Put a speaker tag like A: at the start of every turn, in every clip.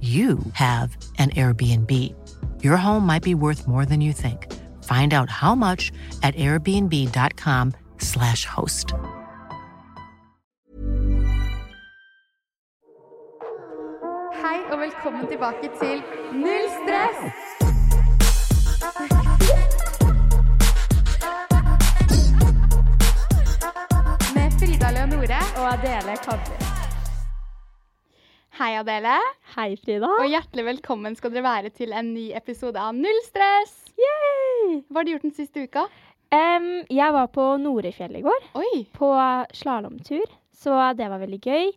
A: you have an Airbnb. Your home might be worth more than you think. Find out how much at airbnb.com/slash host.
B: Hei og velkommen tilbake til Null stress! Med Frida Leonore.
C: Og Adele Kavli.
B: Hei, Adele.
C: Hei, Frida.
B: Og hjertelig velkommen skal dere være til en ny episode av Null stress.
C: Yay!
B: Hva har du gjort den siste uka?
C: Em, jeg var på Norefjell i går,
B: Oi,
C: på slalåmtur. Så det var veldig gøy.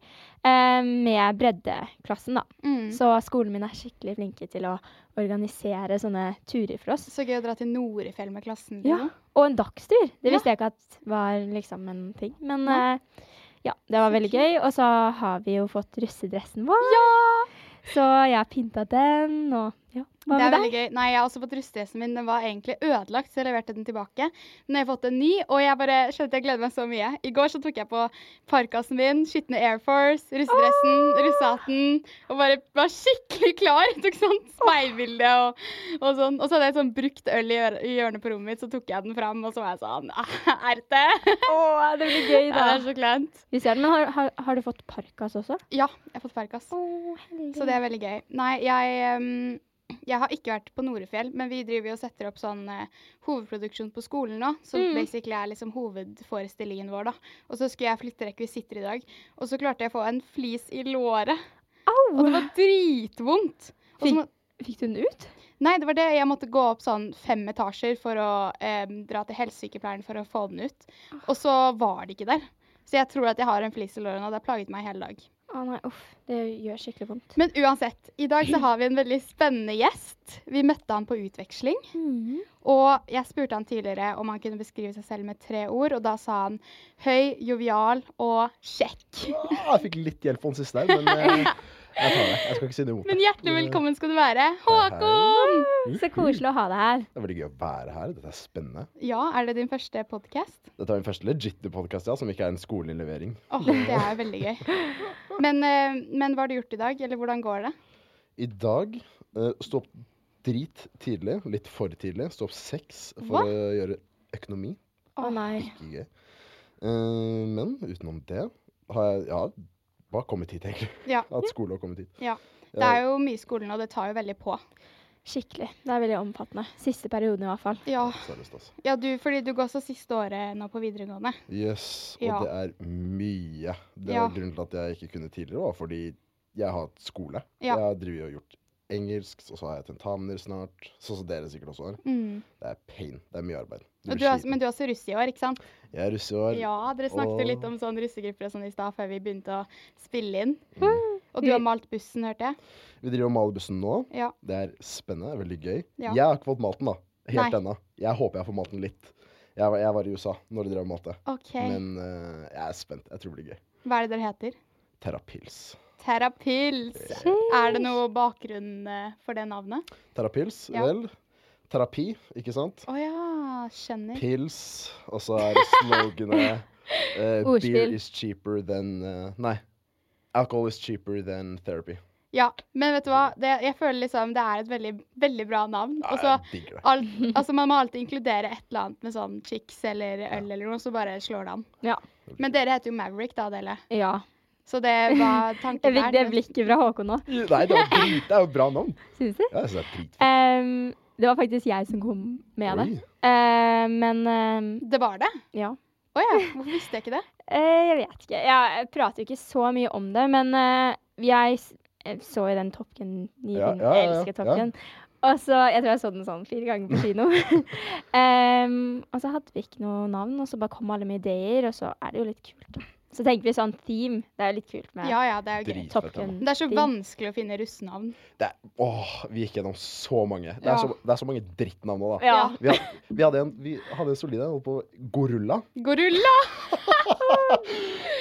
C: em, med breddeklassen, da.
B: mm. så,
C: Så skolen min er skikkelig flinke til å organisere sånne turer for oss.
B: gøy å dra til Norefjell med klassen din.
C: Ja, Og en dagstur. Det visste jeg ikke at var liksom en ting. Men
B: Nei.
C: eh, ja, det var veldig gøy. Og så har vi jo fått russedressen vår. Så jeg har pynta den, og ja. Hva
B: Det er
C: med
B: veldig
C: deg?
B: gøy. Nei, jeg har også fått rustedressen min. Den var egentlig ødelagt, så jeg leverte den tilbake. Men jeg har fått en ny, og jeg bare skjønner at jeg gleder meg så mye. I går så tok jeg på parkasen min, skitne Air Force, russedressen, russehatten, og bare var skikkelig klar. Tok sånn speilbilde og, og sånn. Og så hadde jeg sånn brukt øl i hjør- i hjørnet på rommet mitt, så tok jeg den fram, og så var jeg sånn "Ah, Er det det?
C: Å, det blir gøy,
B: Ja, det er så kleint.
C: Vi ser den, men har, har, har du fått parkas også?
B: Ja, jeg har fått parkas. Så det er veldig gøy. Nei, jeg, um, jeg har ikke vært på Norefjell, men vi driver jo og setter opp sånn eh, hovedproduksjon på skolen nå, som
C: Mm.
B: basically er liksom hovedforestillingen vår, da. Og så skulle jeg flytte rekvisitter i dag, og så klarte jeg å få en flis i låret, og det
C: Au!
B: var dritvondt. Og så
C: Fy-
B: må,
C: Fikk du den ut?
B: nei, det var det. Jeg måtte gå opp sånn fem etasjer for å em, dra til helsesykepleieren for å få den ut. Og så var det ikke der. Så jeg tror at jeg har en flis i låret nå. Det har plaget meg i hele dag.
C: Å nei, uff. Det gjør skikkelig vondt.
B: Men uansett, i dag så har vi en veldig spennende gjest. Vi møtte han på utveksling,
C: Mhm.
B: og jeg spurte han tidligere om han kunne beskrive seg selv med tre ord, og da sa han høy, jovial og kjekk.
D: Ah, jeg fikk litt hjelp på den siste der, men eh, jeg tar det. Jeg skal ikke si noe mot det.
B: Men hjertelig velkommen skal du være, Håkon!
C: Så koselig å ha deg her.
D: Det er veldig gøy å være her. Dette er spennende.
B: Ja, er det din første podkast?
D: Dette er min første legitte podkast ja, som ikke er en skolelevering.
B: Åh, det er jo veldig gøy. Men, eh, men hva har du gjort i dag, eller hvordan går det?
D: I dag eh, stå opp drit tidlig, litt for tidlig. Stå opp seks for
B: Hva?
D: å gjøre økonomi.
C: Å nei.
D: Ikke gøy. Eh, men utenom det har jeg ja, bare kommet hit, egentlig.
B: Ja.
D: At skole har kommet hit.
B: Ja. Det er jo mye i skolen, og det tar jo veldig på.
C: Skikkelig. Det er veldig omfattende. Siste perioden i hvert fall.
B: Ja,
D: Seriøst, altså.
B: ja du, fordi du går også siste året nå på videregående.
D: Yes, og
B: Ja.
D: det er mye. Det
B: Ja.
D: var grunnen til at jeg ikke kunne tidligere, var fordi jeg har hatt skole.
B: Ja.
D: Jeg har drevet og gjort engelsk, og så har jeg tentamener snart. Sånn som dere sikkert også har.
B: Mm.
D: Det er pain. Det er mye arbeid. Du
B: Og
D: blir
B: du er,
D: sliten.
B: men du er også russ i år, ikke sant?
D: Jeg er russ i år.
B: Ja, dere snakket jo
D: Og-
B: litt om sånn russegrupper og sånn i stad før vi begynte å spille inn.
D: Mm.
C: Mhm.
B: Og du har malt bussen, hørte jeg.
D: Vi driver og maler bussen nå.
B: Ja.
D: Det er spennende. Veldig gøy.
B: Ja.
D: Jeg har ikke fått malt den, da. Helt
B: Nei.
D: ennå. Jeg håper jeg får malt den litt. Jeg var, jeg var i USA når de drev og malte.
B: OK.
D: Men eh, jeg er spent. Jeg tror det blir gøy.
B: Hva er det dere heter?
D: Terrapils.
B: Terrapils.
D: Eh,
B: Er det noe bakgrunn eh, for det navnet?
D: Terrapils,
B: Ja.
D: vel. Terapi, ikke sant?
B: Å ja, skjønner.
D: Pils, og så er det sloganet eh, Beer
C: Ordspill.
D: is cheaper than eh, Nei. Alcohol is cheaper than therapy.
B: Ja, men vet du hva? Det, jeg føler liksom det er et veldig, veldig bra navn.
D: Ja,
B: Og så
D: jeg digger det.
B: alt, altså man må alltid inkludere et eller annet med sånn chicks eller øl eller noe, så bare slår det an.
C: Ja.
B: Men dere heter jo Maverick, da, Adele.
C: Ja.
B: Så det var tanken
C: Jeg
B: der.
C: fikk det blikket fra Håkon nå,
D: Nei, det er, drit, det er jo bra navn.
C: syns du?
D: Ja, jeg synes det er dritfett.
C: Ehm, det var faktisk jeg som kom med det.
D: Oi.
C: Eh, men ehm,
B: Det var det?
C: ja.
B: Å ja, hvorfor visste jeg ikke det?
C: Eh, jeg vet ikke. Jeg prater jo ikke så mye om det, men eh, jeg s- eh, så jo den Top Gun nye
D: Ja,
C: filmen.
D: ja, ja,
C: Jeg
D: ja,
C: elsker Top
D: ja.
C: Gun. Og så, Jeg tror jeg så den sånn fire ganger på kino. Em, og så hadde vi ikke noe navn, og så bare kom alle med ideer, og så er det jo litt kult. da. Så tenker vi sånn theme. Det er jo litt kult med
B: Ja ja, det er jo gøy.
D: Dritfett
C: Top
D: navn.
C: Gun.
B: Men Det er så
C: Theme.
B: vanskelig å finne russenavn.
D: Det er, åh, vi gikk gjennom så mange. Det er,
B: Ja.
D: så, det er så mange drittnavn nå, da.
C: Ja.
D: Vi, had, vi hadde en, vi hadde en solid en holdt på Gorulla.
B: Gorulla!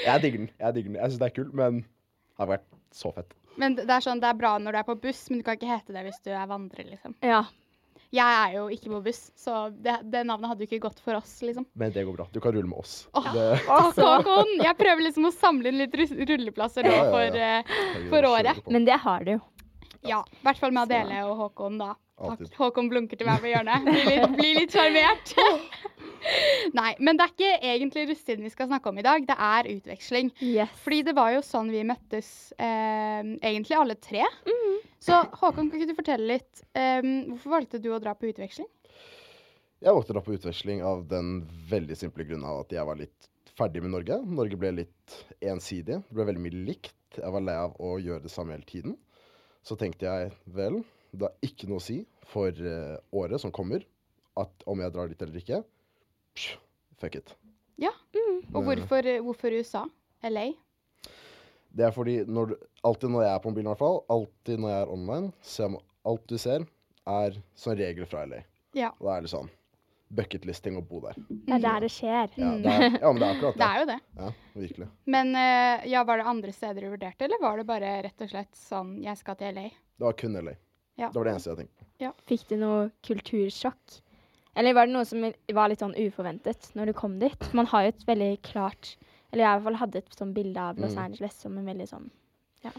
D: Jeg digger den. Jeg digger den. Jeg syns det er kult, men det har vært så fett.
B: Men det er sånn, det er bra når du er på buss, men du kan ikke hete det hvis du er vandrer, liksom.
C: Ja.
B: Jeg er jo ikke på buss, så det, det navnet hadde jo ikke gått for oss, liksom.
D: Men det går bra. Du kan rulle med oss.
B: Åh.
D: Det,
B: Så Håkon, jeg prøver liksom å samle inn litt rus- rulleplasser nå
D: Ja, ja,
B: for
D: ja.
B: eh,
D: herregud,
B: For året.
D: kjører på.
C: Men det har du jo.
B: Ja. I hvert fall med Adele og Håkon, da. Takk.
D: Alltid.
B: Håkon blunker til meg på hjørnet. Blir litt- Blir litt sjarmert. Nei, men det er ikke egentlig russetiden vi skal snakke om i dag. Det er utveksling.
C: Yes.
B: Fordi det var jo sånn vi møttes, eh, egentlig alle tre. Så Håkon, kan ikke du fortelle litt eh, Hvorfor valgte du å dra på utveksling?
D: Jeg valgte da på utveksling av den veldig simple grunnen av at jeg var litt ferdig med Norge. Norge ble litt ensidig. Det ble veldig mye likt. Jeg var lei av å gjøre det samme hele tiden. Så tenkte jeg vel, det har ikke noe å si for eh, året som kommer, at om jeg drar dit eller ikke. Psh, fuck it.
B: Ja. Og
D: Det-
B: hvorfor, eh, hvorfor USA? LA?
D: Det er fordi når du, alltid når jeg er på mobilen, i hvert fall, alltid når jeg er online, ser man, alt du ser, er som regel fra LA.
B: Ja.
D: Og da er det sånn bucketlisting å bo der.
C: Det er der det skjer.
D: Ja, det er, ja, men det er akkurat
B: Mm. Det er jo det.
D: Ja, virkelig.
B: Men eh, ja, var det andre steder du vurderte, eller var det bare rett og slett sånn Jeg skal til LA.
D: Det var kun LA.
B: Ja.
D: Det var det eneste jeg tenkte.
C: Fikk du noe kultursjokk? Eller var det noe som var litt sånn uforventet når du kom dit? Man har jo et veldig klart Eller jeg i hvert fall hadde et sånn bilde av Los
D: Mm.
C: Angeles som en veldig sånn ja,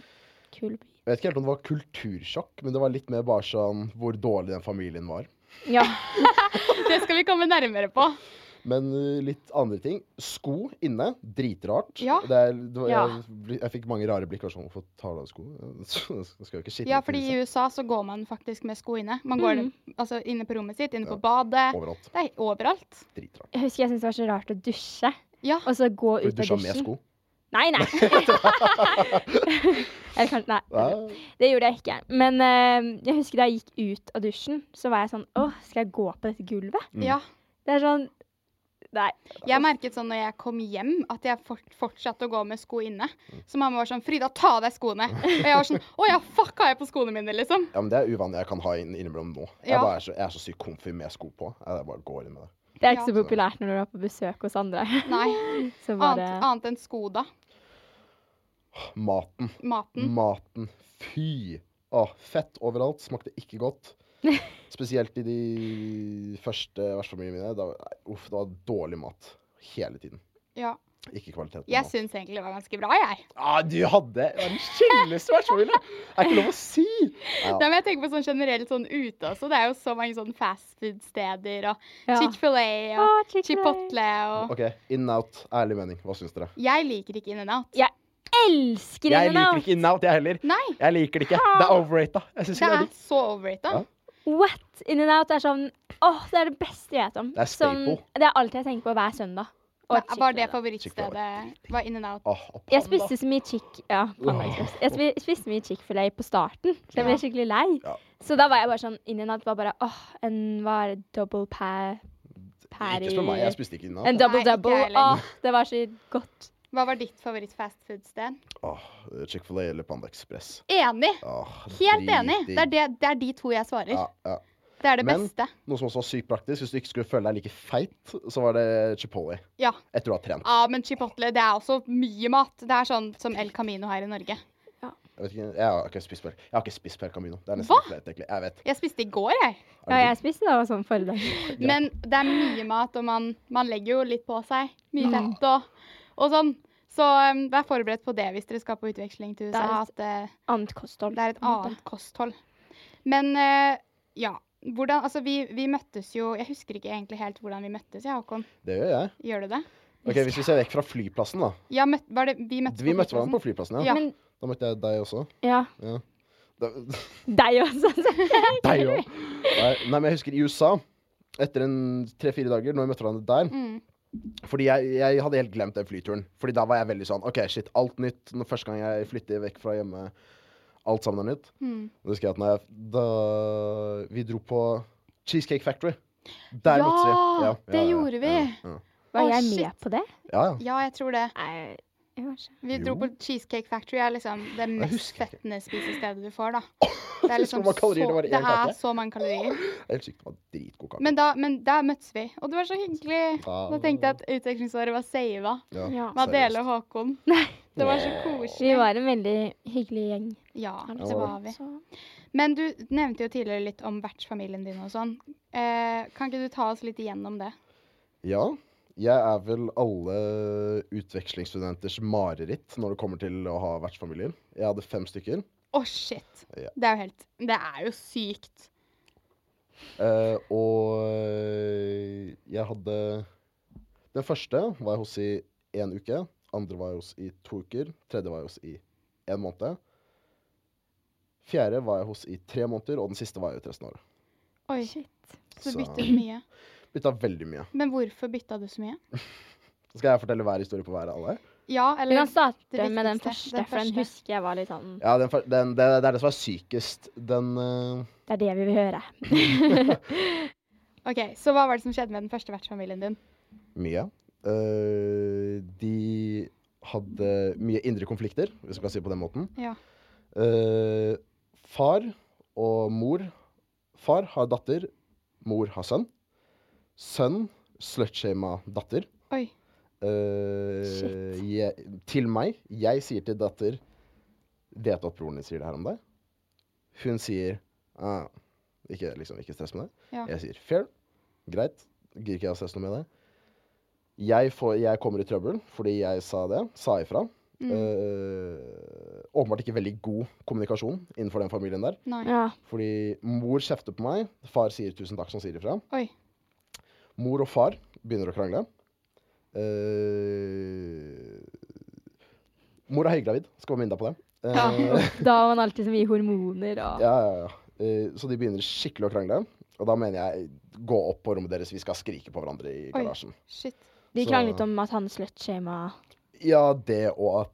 C: kul by.
D: Jeg vet ikke helt om det var kultursjokk, men det var litt mer bare sånn hvor dårlig den familien var.
C: Ja.
B: Det skal vi komme nærmere på.
D: Men uh, litt andre ting. Sko inne, dritrart.
B: Ja.
D: Det er, det var,
C: Ja.
D: jeg, bli- jeg fikk mange rare blikk. og Sånn, Hvorfor tar du av sko? Så Skal jo ikke skitne
B: Ja,
D: til
B: fordi
D: seg
B: i USA så går man faktisk med sko inne. Man går altså, inne på rommet sitt, inne på
D: Ja.
B: badet.
D: Overalt.
B: Det er overalt.
D: Dritrart.
C: Jeg husker jeg syntes det var så rart å dusje,
B: Ja.
C: og så gå ut
D: Du
C: av
D: dusja med
C: dusjen.
D: sko.
C: Nei, nei. Eller kanskje Nei.
D: Ja.
C: Det gjorde jeg ikke. Men eh, jeg husker da jeg gikk ut av dusjen, så var jeg sånn Å, skal jeg gå på dette gulvet?
D: Mm.
B: ja.
C: Det er sånn Nei.
D: altså.
B: Jeg merket sånn når jeg kom hjem, at jeg fort, fortsatte å gå med sko inne.
D: Mm.
B: Så mamma var sånn 'Frida, ta av deg skoene'. Og jeg var sånn 'Å ja, fuck, har jeg på skoene mine', liksom.
D: ja, men det er uvanlig jeg kan ha inn, innimellom nå. Jeg,
B: Ja.
D: bare er så, jeg er så sykt comfy med sko på. Jeg bare går inn med det.
C: Det er
B: Ja.
C: ikke så populært når du er på besøk hos andre.
B: Nei.
C: Så
B: Annet,
C: bare
B: annet enn sko, da.
D: Maten. Mm.
B: Maten.
D: Maten. Fy! Åh, fett overalt. Smakte ikke godt. Spesielt i de første vertsfamiliene mine. Da, nei, uff, det var dårlig mat hele tiden.
B: Ja.
D: Ikke kvalitet. på
B: Jeg
D: mat.
B: syns egentlig det var ganske bra, jeg.
D: ah, du hadde den kjeldeste vertsfamilien! Er ikke lov å si! Ja,
B: Nei, men jeg tenker på sånn generelt sånn ute også. Det er jo så mange sånn fastfood-steder og
C: Ja.
B: Chick-fil-A og
C: Å, Chick-fil-A.
B: Chipotle og
D: OK, in and out. Ærlig mening, hva syns dere?
B: Jeg liker ikke In-N-Out.
C: Jeg elsker
D: Jeg
C: Inna
D: liker ikke in and out, jeg heller.
B: Nei,
D: Jeg liker det ikke. Det er overrata. Jeg syns
B: det
D: ikke det er
B: er
D: digg.
B: så overrated.
D: Ja.
C: What? In and out er sånn Åh, det er det beste jeg vet om.
D: Det er
C: Sånn-
D: staple.
C: det er alt jeg tenker på hver søndag. Og
B: Hva- Var det
C: Chick-fil-A.
B: favorittstedet? Var In and Out?
D: Åh, Ah, og
C: Jeg
D: panda.
C: spiste så mye chick... Ja, Panda Express. Jeg spi- spiste mye Chick-fil-A på starten, så jeg ble skikkelig lei.
D: Ja.
C: Så da var jeg bare sånn In and out var bare åh, en var double pa... Patty
D: Ikke spør meg, jeg spiste ikke in
C: En
D: and out.
C: double
B: Nei, ikke
C: double.
B: jeg heller.
C: Åh, det var så godt.
B: Hva var ditt favoritt-fastfood-sted?
D: Åh, Ah, Chick-fil-A eller Panda Express.
B: Enig!
D: Åh,
B: Helt enig. Det er,
D: dritdigg.
B: det, det er de to jeg svarer.
D: Ja, ja.
B: Det er det
D: Men-
B: beste.
D: Noe som også var sykt praktisk. Hvis du ikke skulle føle deg like feit, så var det Chipotle.
B: Ja.
D: Etter du har trent.
B: ja, men Chipotle det er også mye mat. Det er sånn som El Camino her i Norge.
D: Jeg, vet ikke, jeg har ikke spist på- jeg har ikke spist på El Camino. Det er nesten
B: Hva?
D: litt flaut, egentlig. Jeg vet.
B: Jeg spiste i går, jeg.
D: Er
C: Ja,
D: det
C: jeg spiste det også sånn forrige dag.
B: Men det er mye mat, og man, man legger jo litt på seg. Mye fett og, og sånn. Så um, vær forberedt på det hvis dere skal på utveksling til USA.
C: er
B: At eh,
C: Annet kosthold.
B: det er et
C: på en måte.
B: annet kosthold. Men eh, ja. Hvordan, altså vi, vi møttes jo Jeg husker ikke egentlig helt hvordan vi møttes, jeg, Håkon.
D: Det gjør jeg.
B: Gjør du det?
D: Ok, Hvis vi ser vekk fra flyplassen, da.
B: Ja, møtt, var det, vi møtte
D: Vi møtte hverandre på flyplassen, ja.
B: Ja.
C: Men
D: Da møtte jeg deg også.
C: ja,
D: Da,
C: deg også. selvfølgelig.
D: deg òg! Nei, nei, men jeg husker i USA, etter en tre-fire dager, når vi møtte hverandre der
B: Mm.
D: Fordi jeg, jeg hadde helt glemt den flyturen. Fordi da var jeg veldig sånn OK, shit, alt nytt. Når første gang jeg flytter vekk fra hjemme, alt sammen er nytt.
B: Mm.
D: Da husker jeg at når jeg, da vi dro på Cheesecake Factory Der
B: Ja,
D: møttes vi.
B: det gjorde vi.
D: Ja,
C: Var
B: Å,
C: jeg
B: shit.
C: med på det?
D: ja. ja.
B: Ja, jeg tror det.
C: Nei, kanskje.
B: Vi
D: Jo.
B: dro på Cheesecake Factory. er liksom det mest
D: husker ikke.
B: fettende spisestedet du får, da. Det er, liksom
D: Husker hvor mange kalorier det
B: så,
D: var i
B: det
D: en kake?
B: er så mange kalorier.
D: Det er helt sykt. Det var Dritgod kake.
B: Men, da, men der møttes vi, og det var så hyggelig.
D: Ja.
B: Da tenkte jeg at utvekslingsåret var sava.
D: ja.
C: Ja.
B: Madele og Håkon.
C: Nei.
B: Det var så
C: Vi
B: koselig.
C: var en veldig hyggelig gjeng.
B: Ja, det
D: Ja.
B: var vi.
C: Så.
B: Men du nevnte jo tidligere litt om vertsfamilien din og sånn. Eh, kan ikke du ta oss litt igjennom det?
D: ja. Jeg er vel alle utvekslingsstudenters mareritt når det kommer til å ha vertsfamilier. Jeg hadde fem stykker.
B: Å, shit!
D: Ja.
B: Det er jo helt Det er jo sykt.
D: Eh, og jeg hadde Den første var jeg hos i én uke. Andre var jeg hos i to uker. Tredje var jeg hos i én måned. Fjerde var jeg hos i tre måneder, og den siste var jeg ut resten av året.
B: Oi,
C: Shit.
B: så
D: Så-
B: bytter du mye.
D: Bytta veldig mye.
B: Men hvorfor bytta du så mye?
D: Skal jeg fortelle hver historie på hver alle?
B: Ja,
C: Vi
B: eller
C: kan starte
B: det
C: med den
B: viktigste,
C: første,
B: den
C: for den
B: første.
C: husker jeg var litt sånn
D: Ja, den, fyr- den, det, det er det som er sykest. Den eh,
C: Det er det vi vil høre.
B: OK, så hva var det som skjedde med den første vertsfamilien din?
D: Mye. Eh, de hadde mye indre konflikter, hvis man kan si det på den måten.
B: Ja.
D: Eh, far og mor Far har datter, mor har sønn. Sønn slutshama datter.
B: Oi.
D: Eh,
C: Shit.
D: jeg, til meg. Jeg sier til datter Vet du at broren din sier det her om deg? Hun sier ah, ikke, liksom, ikke stress med det.
B: Ja.
D: Jeg sier fair. Greit. Gidder ikke jeg å stresse noe med det. Jeg, får, jeg kommer i trøbbel fordi jeg sa det. Sa ifra. Eh, åpenbart ikke veldig god kommunikasjon innenfor den familien der.
B: Nei.
C: Ja.
D: Fordi mor kjefter på meg, far sier tusen takk som sier ifra.
B: Oi.
D: Mor og far begynner å krangle. Eh, mor er høygravid, skal være minne deg på det. Eh,
C: Da var man alltid så mye hormoner og
D: ja, ja, ja. Eh, så de begynner skikkelig å krangle. Og da mener jeg gå opp på rommet deres, vi skal skrike på hverandre i
B: Oi.
D: garasjen.
B: Shit.
C: De
D: Så-
C: kranglet om at han slutshama
D: Ja, det og at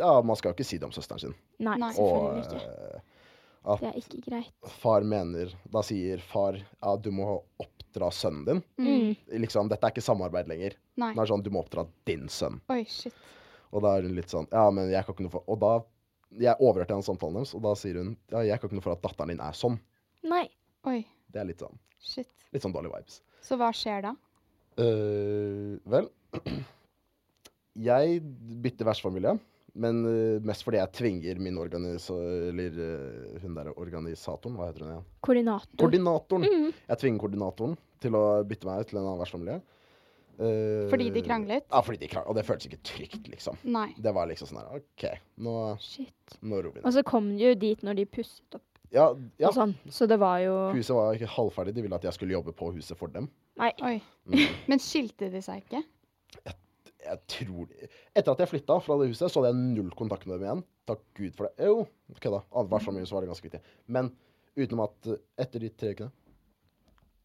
D: Ja, man skal jo ikke si det om søsteren sin.
C: Nei,
B: Nei.
D: Og
C: selvfølgelig ikke.
D: eh,
C: Det er ikke greit.
D: far mener Da sier far ja, du må oppdra sønnen din.
B: Mm.
D: Liksom, Dette er ikke samarbeid lenger.
B: Nei.
D: Det er sånn, Du må oppdra din sønn.
B: Oi, shit.
D: Og da er hun litt sånn Ja, men jeg kan ikke noe for Og da Jeg overhørte henne samtalen deres, og da sier hun ja, jeg kan ikke noe for at datteren din er sånn.
C: Nei.
B: Oi,
D: Det er litt sånn,
B: shit.
D: litt sånn dårlige vibes.
B: Så hva skjer da?
D: Eh, vel Jeg bytter vertsfamilie, men eh, mest fordi jeg tvinger min organisa... Eller eh, hun derre organisatoren, hva heter hun
C: Mm.
D: igjen?
C: Koordinator.
D: Koordinatoren.
C: Mm.
D: Jeg tvinger koordinatoren til å bytte meg ut til en annen vertsfamilie. Eh,
B: Fordi de kranglet?
D: Ja, fordi de kranglet. Og det føltes ikke trygt, liksom.
B: Nei.
D: Det var liksom sånn her OK, nå,
C: Shit.
D: nå roer vi
C: Og
D: ned.
C: så kom de jo dit når de pusset opp
D: Ja, ja.
C: og sånn, så det var jo
D: Huset var ikke halvferdig. De ville at jeg skulle jobbe på huset for dem.
C: Nei.
B: Oi.
D: Mm.
B: Men skilte de seg ikke?
D: Jeg tror Etter at jeg flytta fra det huset, så hadde jeg null kontakt med dem igjen. Takk Gud for det. Jo, kødda. Annet var så mye, så var det ganske viktig. Men utenom at eh, etter de tre ukene,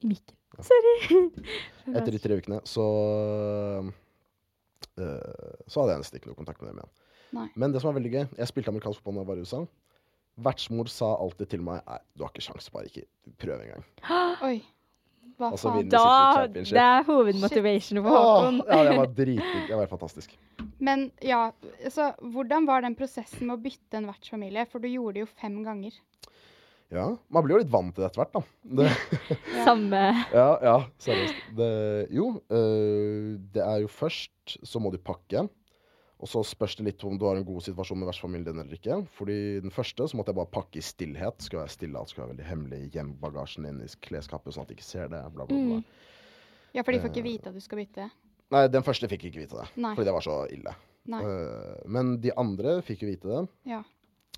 C: I mikken. Sorry.
D: etter de tre ukene så eh, Så hadde jeg nesten ikke noe kontakt med dem igjen.
B: Nei.
D: Men det som var veldig gøy, jeg spilte amerikansk fotball da jeg var i USA. Vertsmor sa alltid til meg Nei, du har ikke sjans, bare ikke prøv engang.
B: Oi. Hva
D: Altså,
B: faen?
D: vinner-
C: Da
D: City Championship.
C: Det er hovedmotivation for Håkon.
D: Åh, ja, det var dritdigg. Det var helt fantastisk.
B: Men ja, så hvordan var den prosessen med å bytte en vertsfamilie? For du gjorde det jo fem ganger.
D: Ja. Man blir jo litt vant til det etter hvert, da. Det,
C: Samme
D: Ja, ja, seriøst. Det, jo, øh, det er jo først så må du pakke. Og så spørs det litt om du har en god situasjon med vertsfamilien din eller ikke. Fordi den første så måtte jeg bare pakke i stillhet. Skulle være stille, alt skulle være veldig hemmelig. Gjem bagasjen din i klesskapet sånn at de ikke ser det. Bla, bla, bla.
B: Ja, for de
D: Eh,
B: får ikke vite at du skal bytte.
D: Nei, den første fikk ikke vite det.
B: Nei.
D: eh, Fordi det var så ille.
B: Nei.
D: Øh, men de andre fikk jo vite det.
B: Ja.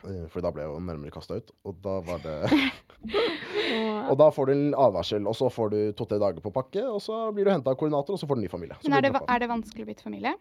D: Eh, For da ble jeg jo nærmere kasta ut. Og da var det Og da får du en advarsel, og så får du to-tre dager på pakke, og så blir du henta av koordinator, og så får du ny familie. Så
B: Men er
D: blir
B: det,
D: du
B: va-
D: droppa.
B: er det vanskelig å bytte familie?